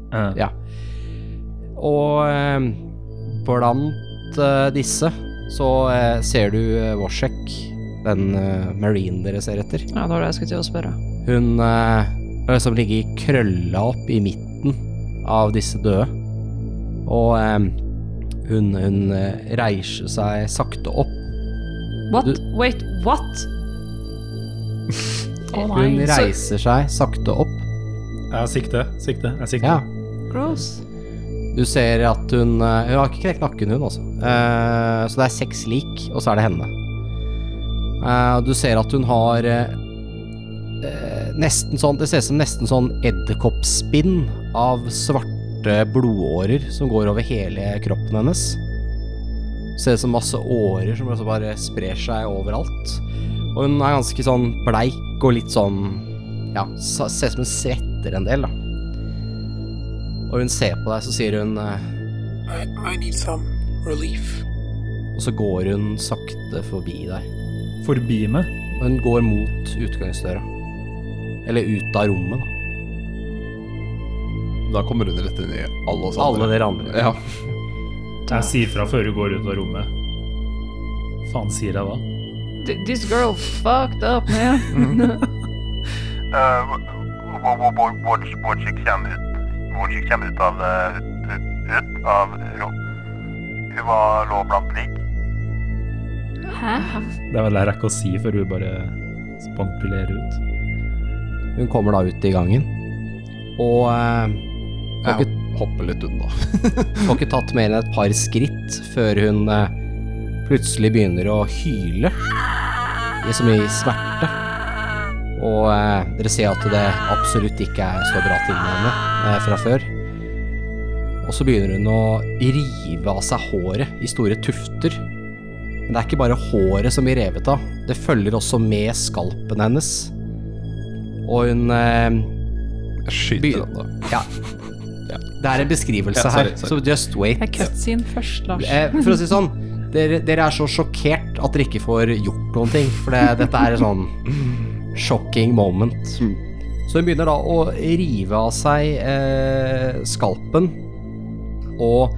Eh, Ja. Og eh, blant eh, disse så eh, ser du eh, Woshek, den eh, marine dere ser etter. Ja, det var det jeg skulle til å spørre. Hun eh, som ligger krølla opp i midten av disse døde. Og eh, hun, hun eh, reiser seg sakte opp. What? Du- Wait, what? Oh Å Hun Så reiser seg sakte opp. Jeg sikter, sikter, jeg sikter. Ja. gross. Du ser at hun eh, Hun har ikke knekt nakken, hun, altså. Eh, så det er seks lik, og så er det henne. Eh, du ser at hun har eh, eh, nesten sånn Det ser ut som nesten sånn edderkoppspinn av svarte blodårer som går over hele kroppen hennes. Ser ut som masse årer som også bare sprer seg overalt. Og hun er ganske sånn bleik og litt sånn Ja, sa- ser ut som hun svetter en del, da. Og hun ser på deg, så sier hun eh, I, I need some relief. Og så går hun sakte forbi deg. Forbi meg. Og hun går mot utgangsdøra. Eller ut av rommet, da. Da kommer hun rett inn i alle oss Alle andre. dere andre. Ja. Jeg sier fra før hun går ut av rommet. Faen sier jeg da? Th- This girl fucked up, man. Eh, hvor- hvor- hvor- hvor- hvor- Hvor seg kommer ut Hvor seg kommer ut av eh, ut- ut- Ut av rom Hun var lå blant lik Det er vel jeg rekker å si før hun bare spankulerer ut. Hun kommer da ut i gangen. Og eh, får, Jeg ikke, hopper litt unna. får ikke tatt mer enn et par skritt før hun eh, plutselig begynner å hyle. Liksom i smerte. Og eh, dere ser at det absolutt ikke er så bra til med henne eh, fra før. Og så begynner hun å rive av seg håret i store tufter. Men det er ikke bare håret som blir revet av. Det følger også med skalpen hennes. Og hun eh, Jeg Begynn. skyter henne. Ja. Det er en beskrivelse Ja, sorry, her, sorry. så just wait. Det er cutscene først, Lars. Eh, for å si det sånn, dere, dere er så sjokkert at dere ikke får gjort noen ting. For det, dette er en sånn shocking moment. Så hun begynner da å rive av seg eh, skalpen, og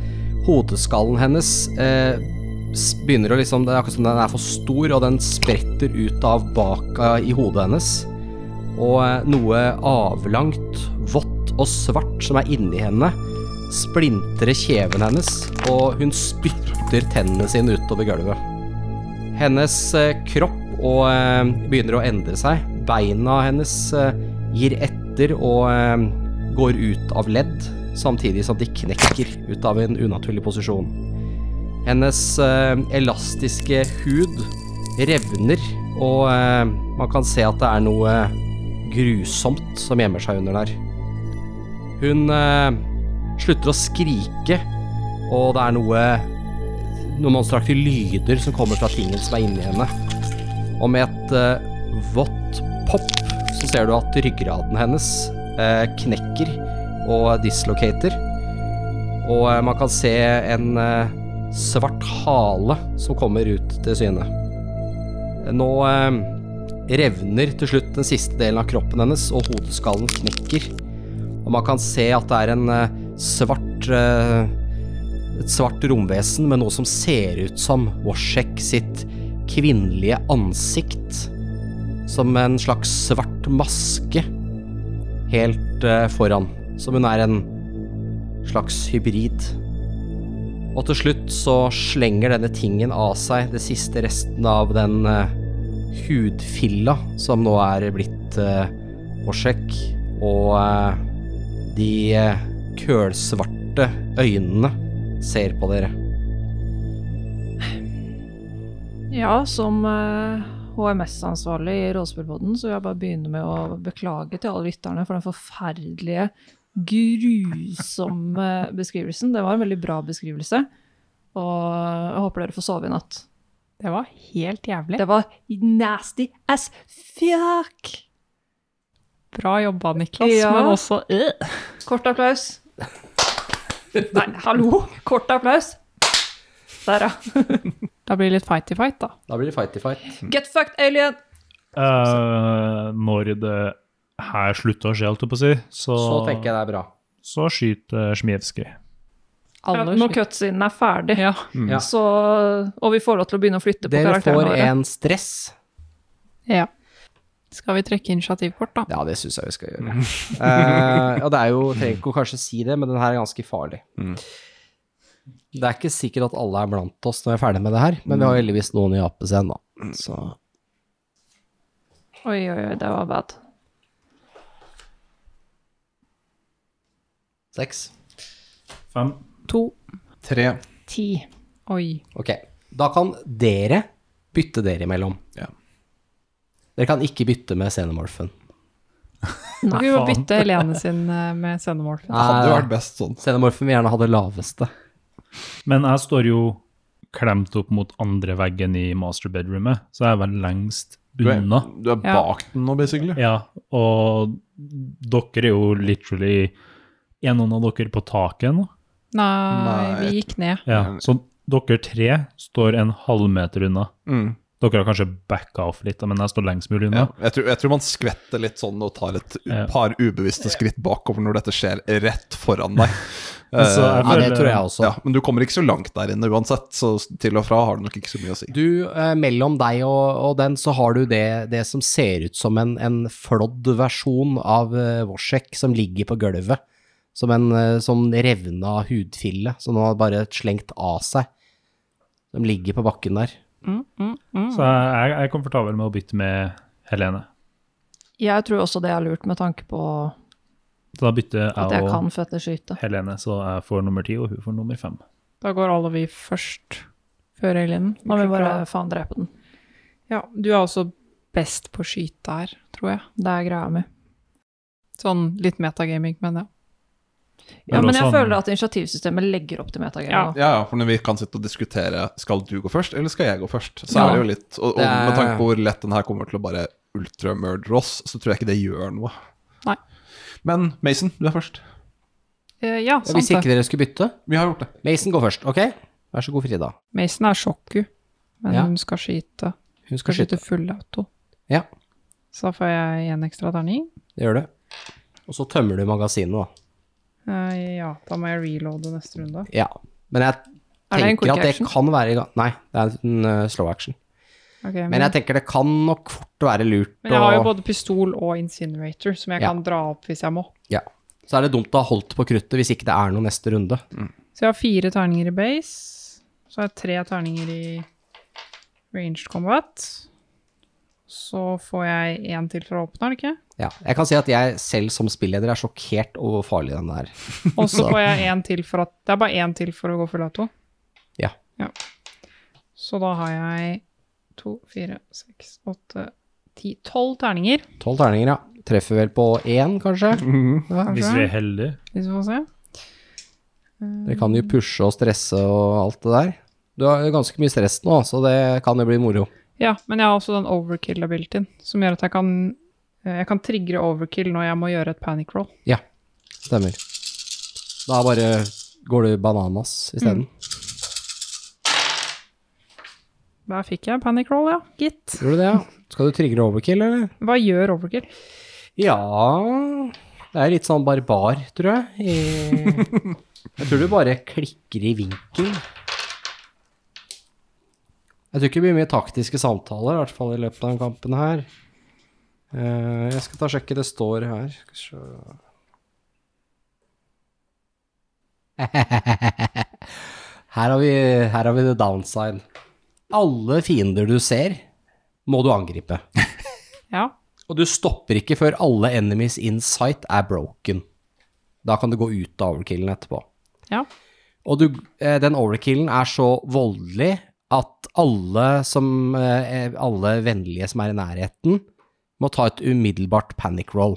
hodeskallen hennes eh, s- begynner å liksom Det er akkurat som den er for stor, og den spretter ut av baka i hodet hennes. Og eh, noe avlangt, vått og svart som er inni henne, splintre kjeven hennes, og hun spytter tennene sine utover gulvet. Hennes eh, kropp og, eh, begynner å endre seg. Beina hennes eh, gir etter og eh, går ut av ledd, samtidig som de knekker ut av en unaturlig posisjon. Hennes eh, elastiske hud revner, og eh, man kan se at det er noe eh, grusomt som gjemmer seg under der. Hun eh, slutter å skrike, og det er noe noen monsteraktige lyder som kommer fra tingen som er inni henne. Og med et eh, vått pop så ser du at ryggraden hennes eh, knekker og dislocater. Og eh, man kan se en eh, svart hale som kommer ut til syne. Nå eh, revner til slutt den siste delen av kroppen hennes, og hodeskallen knekker. Og man kan se at det er en eh, svart eh, Et svart romvesen med noe som ser ut som Woshek sitt kvinnelige ansikt. Som en slags svart maske helt eh, foran. Som hun er en slags hybrid. Og til slutt så slenger denne tingen av seg det siste resten av den eh, hudfilla som nå er blitt eh, Woshek. Og eh, de eh, kølsvarte øynene ser på dere. Ja, som eh, HMS-ansvarlig i Rådspillpodden, så vil jeg bare begynne med å beklage til alle lytterne for den forferdelige, grusomme beskrivelsen. Det var en veldig bra beskrivelse, og jeg håper dere får sove i natt. Det var helt jævlig. Det var nasty as fuck! Bra jobba, Niklas, Ja. men også øh. Kort applaus. Nei, hallo! Kort applaus. Der, ja. Da blir det litt fight i fight, da. Da blir det fighty fight. Get fucked, alien! Eh, når det her slutter å skje, holdt jeg på å si, så, Så tenker jeg det er bra. så skyter Smijevskij. Ja, Alle når skyter. cutscenen er ferdig, Ja. Ja. så, og vi får lov til å begynne å flytte på Mm. Dere karakterene får våre. en stress. ja. Skal vi trekke initiativkort, da? Ja, det syns jeg vi skal gjøre. Mm. Eh, og det er jo, jeg trenger ikke å kanskje si det, men den her er ganske farlig. Det er ikke sikkert at alle er blant oss når vi er ferdig med det her, men vi har heldigvis noen i apescenen, da. Så Oi, oi, oi, det var bad. seks. Fem. To. Tre. Ti. Oi. Ok, da kan dere bytte dere imellom. Ja. Dere kan ikke bytte med Xenomorphen. Kan vi må faen. bytte Helene sin eh, med sendemorfen. Det hadde jo vært best sånn. Ah. Xenomorphen vil gjerne ha det laveste. Men jeg står jo klemt opp mot andre veggen i masterbedroomet, så jeg er vel lengst Du er, unna. du er Ja. bak den nå, basically. Ja, og dere er jo literally en av dere på taket nå. Nei, Nei. vi gikk ned. Ja, så dere tre står en halvmeter unna. Mm. Dere har kanskje backa off litt, men jeg står lengst mulig Ja. unna. Jeg, tror, jeg tror man skvetter litt sånn og tar et Ja. par ubevisste skritt bakover når dette skjer rett foran deg. Så jeg Ja, det føler- tror jeg også. Ja, men du kommer ikke så langt der inne uansett, så til og fra har det nok ikke så mye å si. Du, eh, mellom deg og, og den, så har du det, det som ser ut som en, en flådd versjon av eh, Vorsek som ligger på gulvet. Som en eh, som revna hudfille, som nå har bare slengt av seg. Som ligger på bakken der. Så jeg, jeg er komfortabel med å bytte med Helene. Jeg tror også det er lurt med tanke på Så da bytter at jeg jeg og kan føtteskyte. Helene, så jeg får nummer ti, og hun får nummer fem. Da går alle vi først. Før Helene. Må vi bare faen drepe den. Ja, du er også best på å skyte her, tror jeg. Det er greia mi. Sånn litt metagaming, men ja. Eller Ja, sånn, men jeg også- føler at initiativsystemet legger opp til Ja. metagaming. nå. Ja, ja, for når vi kan sitte og diskutere skal du gå først, eller skal jeg gå først, så Ja. er det jo litt Og, og Det er- med tanke på hvor lett den her kommer til å bare ultramurder oss, så tror jeg ikke det gjør noe. Nei. Men Mason, du er først. Eh, ja, Ja, sant Hvis ikke det. dere skulle bytte. Vi har gjort det. Mason går først, ok? Vær så god, Frida. Mason er sjokku, men Ja. hun skal skyte. Hun Skal skal skyte skyte. full auto. Ja, Så da får jeg en ekstra terning. det gjør det. Og så tømmer du magasinet, da. Eh, ja, da må jeg reloade neste runde. Ja. Men jeg Er det en tenker quick at det action? kan være i gang Nei, det er en eh, slow action. Ok, men, Men men, jeg tenker det kan nok fort være lurt å jeg har jo både pistol og incinerator, som jeg Ja. kan dra opp hvis jeg må. Ja. Så er det dumt å ha holdt på kruttet hvis ikke det er noe neste runde. Så jeg har fire terninger i base. Så har jeg tre terninger i ranged combat. Så får jeg én til fra åpner, ikke? Ja. Jeg kan si at jeg selv som spilleder er sjokkert over hvor farlig den er. Og så Så- får jeg én til for at Det er bare én til for å gå full auto. Ja. Så da har jeg to, fire, seks, åtte, ti, tolv terninger. Tolv terninger, ja. Treffer vel på én, kanskje. Hvis vi Kanskje. er heldige. Hvis vi får se. Dere kan jo pushe og stresse og alt det der. Du har jo ganske mye stress nå, så det kan jo bli moro. Ja, men jeg har også den overkill-abilityen, som gjør at jeg kan, eh, jeg kan trigge overkill når jeg må gjøre et panic roll. Ja, stemmer. Da bare går du bananas Mm. isteden. Der fikk jeg panic roll, ja. Gitt. Gjorde du det, ja? Skal du triggere overkill, eller? Hva gjør overkill? Ja Det er litt sånn barbar, tror jeg. I... Jeg tror du bare klikker i vinkel. Jeg tror ikke det blir mye taktiske samtaler, i hvert fall i løpet av den kampen her. Eh, jeg skal ta og sjekke, det står her. Skal vi se. Her har, vi, her har vi the downside. Alle fiender du ser, må du angripe. Ja. Og du stopper ikke før alle enemies in sight er broken. Da kan du gå ut av overkillen etterpå. Ja. Og du, eh, den overkillen er så voldelig at alle, som, eh, alle vennlige som er i nærheten, må ta et umiddelbart panic roll.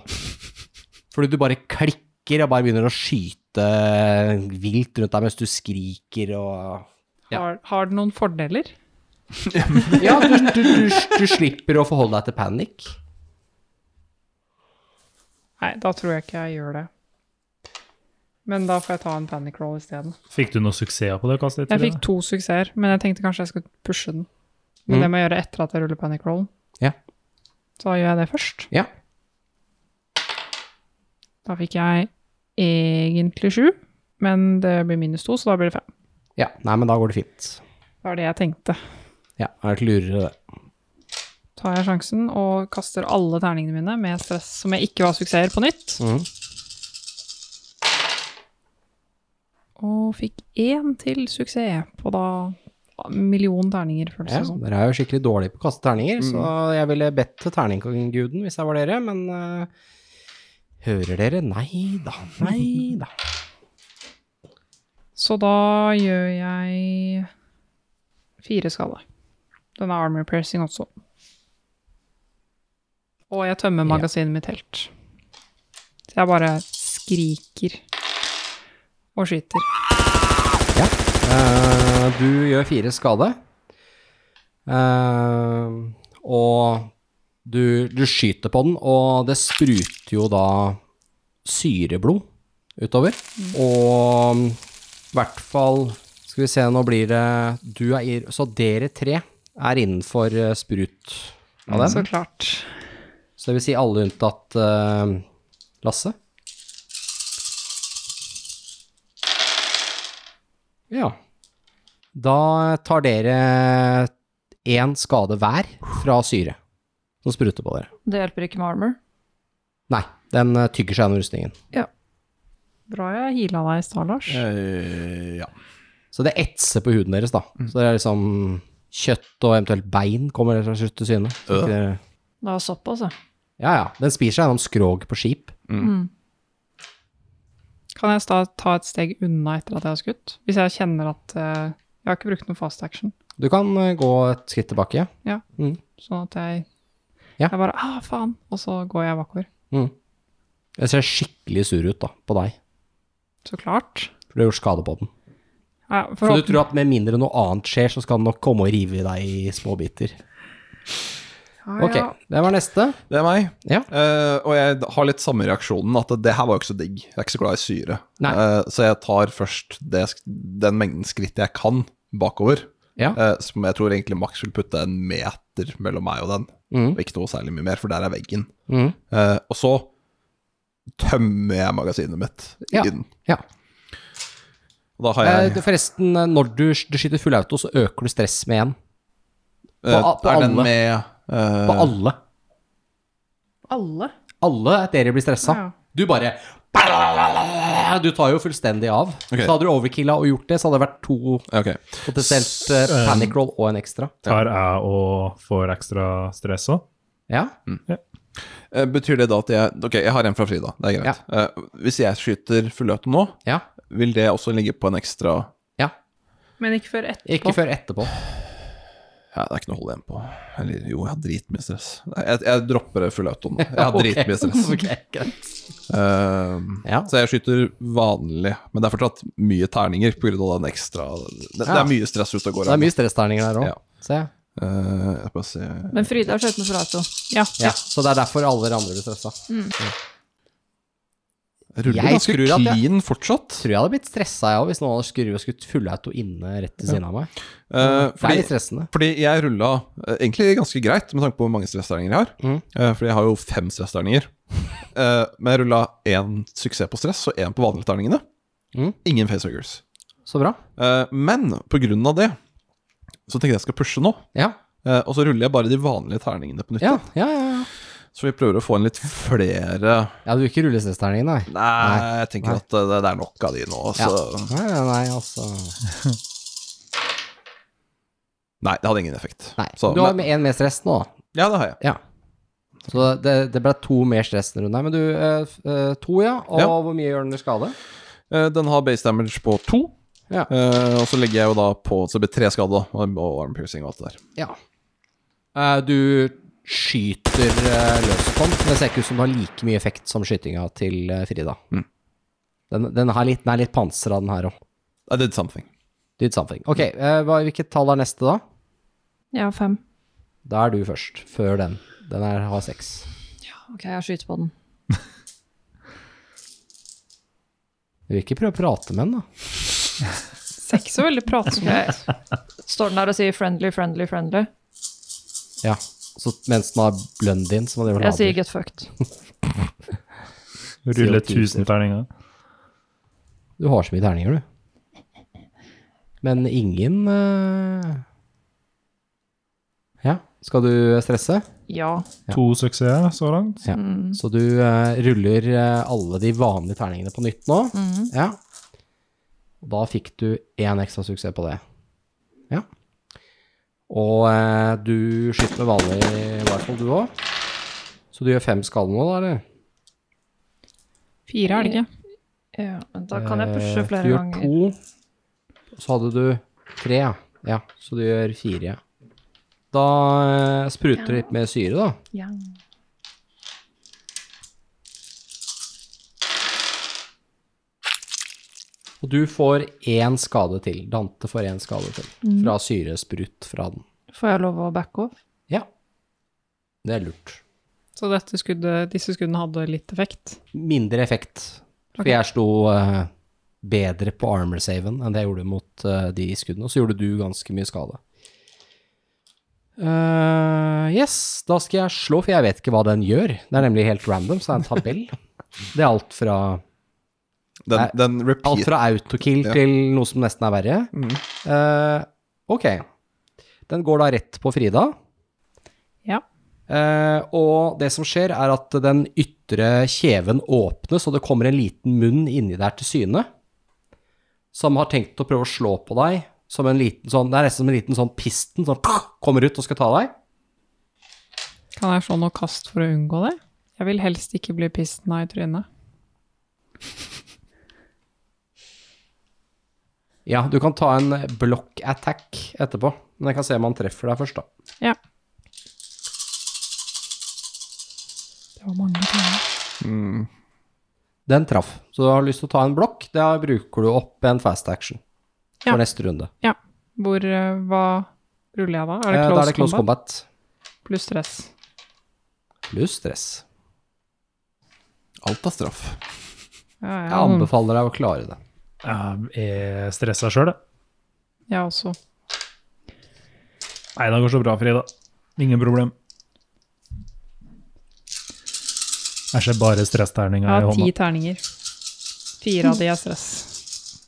Fordi du bare klikker og bare begynner å skyte eh, vilt rundt deg mens du skriker og Ja. Har, har det noen fordeler? Ja, du, du, du, du slipper å forholde deg til panic. Nei, da tror jeg ikke jeg gjør det. Men da får jeg ta en panic roll isteden. Fikk du noe suksess på det kastet? Jeg fikk to suksesser, men jeg tenkte kanskje jeg skulle pushe den. Men det må jeg gjøre etter at jeg ruller panic rollen. Ja. Så da gjør jeg det først. Ja. Da fikk jeg egentlig sju, men det blir minus to, så da blir det fem. ja. Nei, men da går det fint. Det var det jeg tenkte. Ja, er det lurere, det. Tar jeg sjansen og kaster alle terningene mine med stress som jeg ikke var suksesser, på nytt. Og fikk én til suksess på da en million terninger, føles Ja, det som. dere er jo skikkelig dårlige på å kaste terninger, så jeg ville bedt til terningguden hvis jeg var dere, men eh, hører dere? Nei da, nei da. Så da gjør jeg fire skade. Den er armor piercing også. Og jeg tømmer magasinet mitt helt. Så jeg bare skriker og skyter. Ja. eh, du gjør fire skade. Eh, og du, du skyter på den, og det spruter jo da syreblod utover. Og i hvert fall Skal vi se, nå blir det du er, i- Så dere tre er innenfor eh, sprut av den. Så klart. Så det vil si alle unntatt eh, Lasse? Ja. Da tar dere én skade hver fra syre som spruter på dere. Det hjelper ikke med armor. Nei, den eh, tygger seg gjennom rustningen. Bra jeg heala deg i stad, Lars. Eh, ja. Så det etser på huden deres, da. Så det er liksom kjøtt og eventuelt bein kommer til slutt til syne. Så ikke dere- Det altså. er såpass, ja. Ja ja, den spiser seg gjennom skrog på skip. Kan jeg da ta et steg unna etter at jeg har skutt? Hvis jeg kjenner at eh, Jeg har ikke brukt noe fast action, Du kan eh, gå et skritt tilbake. sånn at jeg Ja. Jeg bare ah, faen! Og så går jeg bakover. Det ser skikkelig sur ut da, på deg, Så klart. for du har gjort skade på den. Ja, Så du tror at med mindre noe annet skjer, så skal den nok komme og rive i deg i små biter. Ah, Ja, Ok, ja. det var neste. Det er meg. Ja. Eh, og jeg har litt samme reaksjonen, at det her var jo ikke så digg. Jeg er ikke så glad i syre. Nei. Eh, så jeg tar først det, den mengden skritt jeg kan bakover, Ja. eh, som jeg tror egentlig maks vil putte en meter mellom meg og den. Mm. Ikke noe særlig mye mer, for der er veggen. Mm. Eh, og så tømmer jeg magasinet mitt Ja. inn. ja. Og da har Eh, jeg du, forresten, eh, når du, du skyter full auto, så øker du stress med en. eh, på- på Er den alle. med eh, På alle. Alle? Alle dere blir stressa. Ja. Du bare Du tar jo fullstendig av. Ok. Så hadde du overkilla og gjort det, så hadde det vært to Ok. potensielt eh, panic roll og en ekstra. Tar jeg og får ekstra stress òg? Ja. Eh, Betyr det da at jeg Ok, jeg har en fra Frida, det er greit. Eh, hvis jeg skyter fulløte nå, Ja. vil det også ligge på en ekstra ja. Men ikke før etterpå. Ikke før etterpå. ja, Det er ikke noe å holde igjen på. Eller jo, jeg har dritmye stress. Nei, Jeg, jeg dropper fullautoen. Jeg har Ok. dritmye stress. Ok, greit. Eh, Ja. Så jeg skyter vanlig, men det er fortsatt mye terninger pga. den ekstra det, det Ja. er mye stress ute og går. Det er mye stressterninger der òg. Ja. Se. Eh, jeg skal bare se Men Frida har skjøtt med Frato. Ja. Ja, så det er derfor alle dere andre blir stressa. Jeg ruller Jeg ganske tror at jeg- clean fortsatt. Tror jeg hadde blitt stressa jeg òg, hvis noen hadde skrudd og skutt fullauto inne rett ved siden av meg. Eh, Det er fordi, litt stressende. fordi jeg rulla eh, egentlig ganske greit, med tanke på hvor mange stressterninger jeg har. Mhm. Eh, fordi jeg har jo fem stressterninger. Eh, men jeg rulla én suksess på stress og én på vanlige terningene. Mhm. Ingen facehuggers. Så bra. Eh, men på grunn av det så tenkte jeg jeg skal pushe nå. Ja, Eh, og så ruller jeg bare de vanlige terningene på nytt. ja, igjen. ja. ja, ja. Så vi prøver å få inn litt flere ja du vil ikke rulle stressterningen, nei. Nei, jeg tenker at eh, det, det er nok av de nå. Så. Ja. Nei, nei, nei, altså Nei, det hadde ingen effekt. Nei. Så, du har med men, én mer stress nå, da. ja, det har jeg. Ja. Så det, det ble to mer stress denne runden her. Men du, eh, f- eh, to, ja. Og Ja. hvor mye gjør den i skade? Eh, den har base damage på to. Ja. Eh, og så legger jeg jo da på CB3-skade og og arm piercing og alt det der. Ja. Eh, Du skyter eh, løs på den. Det ser ikke ut som det har like mye effekt som skytinga til eh, Frida. Mm. Den, den, har litt, den er litt pansra, den her òg. I did something. Did something. Ok, eh, hva, hvilket tall er neste, da? Jeg har fem. Da er du først, før den. Den her har seks. Ok, jeg skyter på den. Du vil ikke prøve å prate med den, da? Ser ikke så veldig pratsom ut. Står den der og sier 'friendly, friendly, friendly'? Ja. Så mens den har blundien, så må den Jeg gjøre sier lader. 'get fucked'. Rulle CO2 -ser. 1000 terninger. Du har så mye terninger, du. Men ingen eh, Ja, skal du stresse? Ja. To suksesser så langt. Ja. Så du eh, ruller eh, alle de vanlige terningene på nytt nå. Ja. Og da fikk du én ekstra suksess på det. Ja. Og eh, du skyter med vanlig rifle, du òg. Så du gjør fem skader nå, da, eller? Fire er det ikke? ja. men Da kan jeg pushe Eh, flere ganger. Du gjør to, så hadde du tre, ja. ja. Så du gjør fire, ja. Da eh, spruter det litt mer syre, da. Ja. Og du får én skade til. Dante får én skade til. Mm. Fra syresprut fra den. Får jeg lov å backe off? Ja. Det er lurt. Så dette skuddet, disse skuddene hadde litt effekt. Mindre effekt. For Ok. jeg slo eh, bedre på armor saven enn det jeg gjorde mot eh, de skuddene. Og så gjorde du ganske mye skade. Eh, yes, da skal jeg slå, for jeg vet ikke hva den gjør. Det er nemlig helt random, så det er en tabell. det er alt fra, Den, Nei, den alt repeat fra autokill Ja. til noe som nesten er verre. Mhm. Eh, ok. Den går da rett på Frida. Ja. Eh, og det som skjer, er at den ytre kjeven åpnes, og det kommer en liten munn inni der til syne, som har tenkt å prøve å slå på deg. Som en liten sånn, det er nesten som en liten sånn pisten som kommer ut og skal ta deg. Kan jeg få noe kast for å unngå det? Jeg vil helst ikke bli pistna i trynet. Ja, du kan ta en block attack etterpå, men jeg kan se om han treffer deg først, da. Ja. Det var mange timer. Den traff. Så du har lyst til å ta en blokk, da bruker du opp en fast action for Ja. neste runde. Ja. Hvor eh, Hva ruller jeg da? Er det Eh, close, da er det close combat? combat. Pluss stress. Pluss stress. Alt er straff. Ja, jeg, Jeg anbefaler deg å klare det. Jeg er stressa sjøl, jeg. jeg også. Nei, det går så bra, Frida. Ingen problem. Jeg ser bare stressterninger Jeg har i ti hånda. terninger. Fire av de er stress.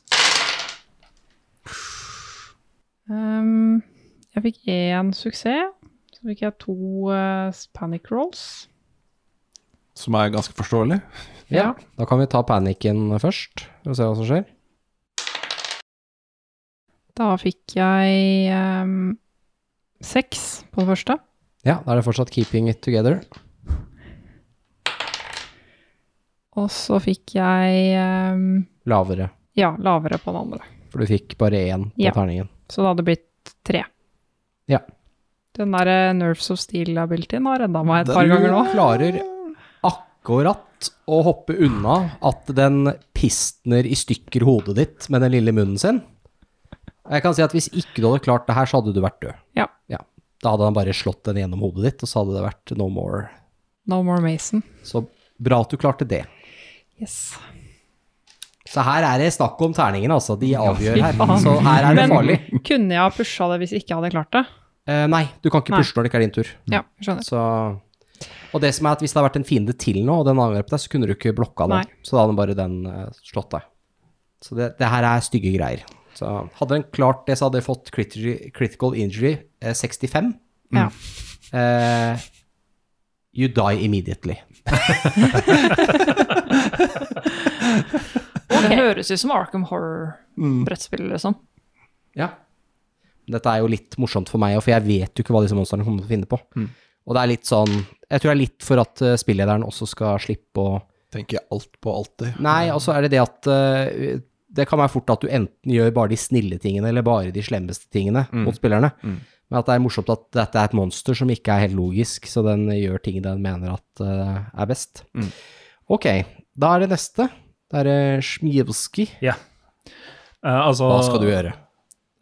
Ehm, jeg fikk én suksess. Så fikk jeg to eh, panic rolls. Som er ganske forståelig. Ja. Da kan vi ta panikken først, for å se hva som skjer. Da fikk jeg ehm, seks på det første. Ja, da er det fortsatt keeping it together. Og så fikk jeg ehm, Lavere, ja, lavere på den andre. for du fikk bare én på Ja. terningen. Så det hadde blitt tre. Ja. Den der eh, Nerves of Steel-abilityen har redda meg et par ganger nå. Du klarer akkurat å hoppe unna at den pistner i stykker hodet ditt med den lille munnen sin. Jeg kan si at hvis ikke du hadde klart det her, så hadde du vært død. Ja. Ja, da hadde han bare slått den gjennom hodet ditt, og så hadde det vært no more. No more Mason. Så bra at du klarte det. Yes. Så her er det snakk om terningene, altså. De avgjør fy her. faen. Så her er det Men- farlig. Kunne jeg ha pusha det hvis jeg ikke hadde klart det? Eh, nei, du kan ikke Nei. pusle når det ikke er din tur. Ja, jeg skjønner. Så, og det som er at hvis det har vært en fiende til nå, og den angrep deg, så kunne du ikke blokka den. Nei. Så da hadde bare den eh, slått deg. Så det, det her er stygge greier. Så hadde den klart det, så hadde den fått criti- critical injury eh, 65. Ja. Eh, you die immediately. Det høres ut som Arkham Mm. Horror-brettspill, liksom. Ja. Dette er jo litt morsomt for meg, for jeg vet jo ikke hva disse monstrene kommer til å finne på. Mm. Og det er litt sånn Jeg tror det er litt for at eh, spillederen også skal slippe å Tenker jeg alt på alltid. Nei, altså er det det at eh, det kan være fort at du enten gjør bare de snille tingene, eller bare de slemmeste tingene mot spillerne. Men at det er morsomt at dette er et monster som ikke er helt logisk, så den gjør ting den mener at eh, er best. Ok, da er det neste. Det er eh, Smijewski. Ja. Eh, altså, Hva skal du gjøre?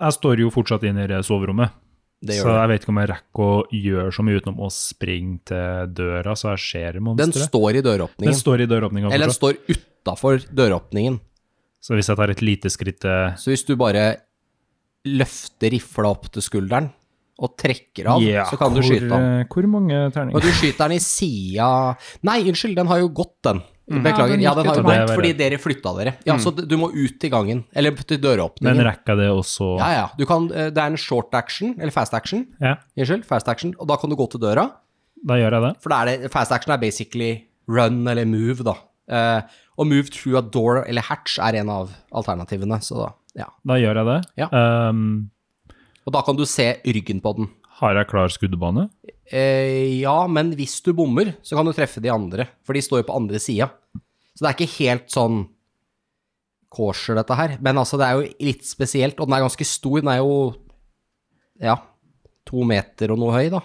Jeg står jo fortsatt inne i det soverommet, Det så gjør du. jeg vet ikke om jeg rekker å gjøre så mye utenom å springe til døra, så jeg ser Den monsteret. står i Den døråpningen. står i døråpninga Eller den fortsatt. står utafor døråpningen. Så hvis jeg tar et lite skritt eh, til Så hvis du bare løfter rifla opp til skulderen og trekker av, Ja, så kan du hvor, skyte ham. eh, Hvor mange terninger? Og du skyter den i sida Nei, unnskyld, den har jo gått, den. Ja, Beklager. den Ja, gikk den har jo utover. gått Det er fordi verre. dere flytta dere. Ja, så du må ut i gangen. Eller til Men døråpningen. rekker jeg det også? Ja, ja. Du kan, eh, det er en short action, eller fast action. Ja, Unnskyld, fast action. Og da kan du gå til døra. da gjør jeg det. For da er det, fast action er basically run eller move, da. Eh, og move through a door eller hatch er en av alternativene. Så da, ja. Da gjør jeg det. Ja. Ehm, Og da kan du se ryggen på den. har jeg klar skuddbane? Eh, ja, men hvis du bommer, så kan du treffe de andre, for de står jo på andre sida. Så det er ikke helt sånn kosher, dette her. Men altså, det er jo litt spesielt, og den er ganske stor. Den er jo ja, to meter og noe høy, da.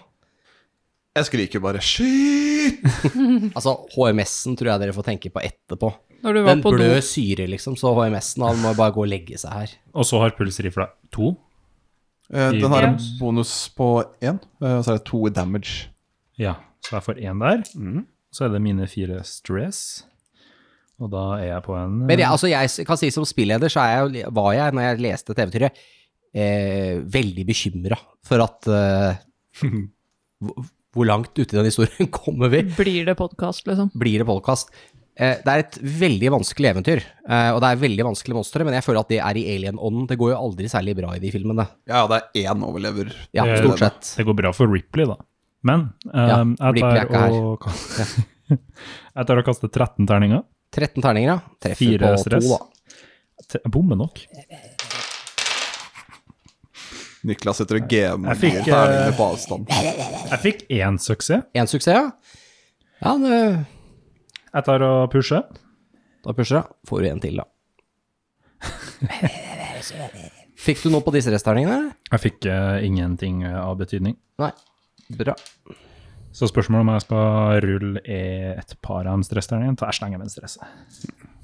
Jeg skriker bare 'skyt'! Altså, HMS-en tror jeg dere får tenke på etterpå. Når du var Den på do blør syre, liksom, så HMS-en han må bare gå og legge seg her. Og så har pulsrifla to. Eh, I Den har en bonus. bonus på én, eh, og så er det to i damage. Ja, så jeg får én der. Mm. Så er det mine fire stress. Og da er jeg på en Men jeg, altså, jeg kan si som spilleder, så er jeg, jo- var jeg, når jeg leste dette eventyret, eh, veldig bekymra for at eh, hvor- Hvor langt ute i den historien kommer vi? Blir det podkast, liksom? Blir det podkast? Eh, det er et veldig vanskelig eventyr, eh, og det er veldig vanskelige monstre, men jeg føler at det er i alien-ånden. Det går jo aldri særlig bra i de filmene. Ja, det er én overlever. Ja, Eh, stort sett. Det går bra for Ripley, da. Men Ja, ehm, jeg, Ripley er ikke tar her. og, jeg tar og kaster 13 terninger. 13 terninger, ja. Treffer Fire på stress. to, da. T- Jeg bommer nok. Niklas sitter og gamer Jeg fikk, mot eh, terningene på avstand. Jeg fikk én suksess. Én suksess, ja. Ja, det, Jeg tar og pusher. Da pusher jeg. Får du en til, da. Fikk du noe på disse restterningene? Jeg fikk eh, ingenting eh, av betydning. Nei. Bra. Så spørsmålet om jeg skal rulle er et par av stressterningene. Ta jeg slenger med en stress.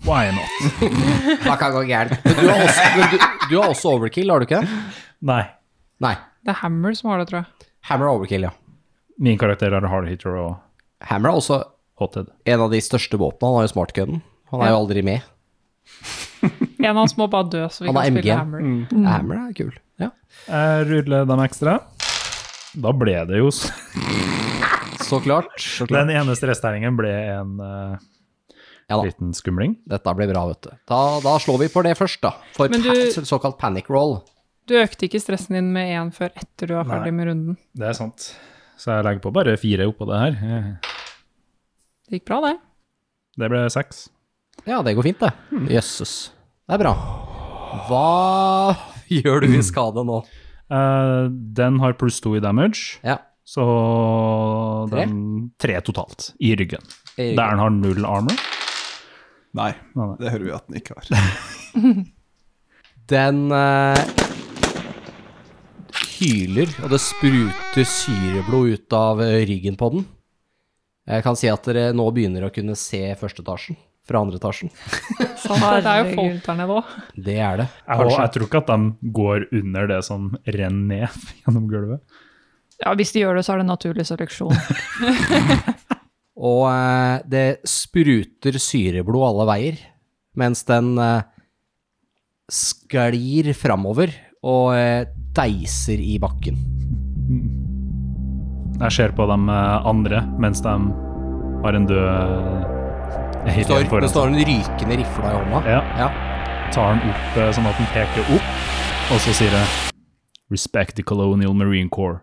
Why not? Da kan det gå gærent. Men du har, også, men du, du har også overkill, har du ikke det? Nei. Nei. Det er Hammer som har det, tror jeg. Hammer er overkill, ja. Min karakter er hard hitter og Hammer er også hothead. en av de største våpnene. Han har jo smartgunnen. Han er jo aldri med. En av oss må bare dø, så vi Han har kan MG. spille Hammer. Hammer er kul. Ja. Jeg ruller dem ekstra. Da ble det jo s- Så klart. Så klart. Den ene stressterningen ble en eh, Ja da. liten skumling. Dette blir bra, vet du. Da, da slår vi for det først, da. For Men du- pa såkalt panic roll. Du økte ikke stressen din med én før etter du var Nei. ferdig med runden. Det er sant. Så jeg legger på bare fire oppå det her. Eh, Det gikk bra, det. Det ble seks. Ja, det går fint, det. Mm. Jøsses. Det er bra. Hva gjør du i skade nå? Eh, den har pluss to i damage, Ja. så Tre? den Tre totalt i ryggen. I ryggen. Der den har null armor. Nei, Nei, nei. det hører vi at den ikke har. Den eh, hyler, og det spruter syreblod ut av eh, ryggen på den. Jeg kan si at dere nå begynner å kunne se første etasjen fra andre etasjen. Det er jo Herregud. folk der nede òg. Det er det. Og jeg tror ikke at de går under det som renner ned gjennom gulvet. Ja, hvis de gjør det, så er det naturlig seleksjon. Og eh, det spruter syreblod alle veier, mens den eh, sklir framover og eh, deiser i bakken. Jeg ser på de eh, andre mens de har en død Det alien står, foran det seg. står en rykende rifle i hånda. sånn- Ja, Ja. tar den opp eh, sånn at den peker opp, og så sier jeg Respect the colonial marine corps.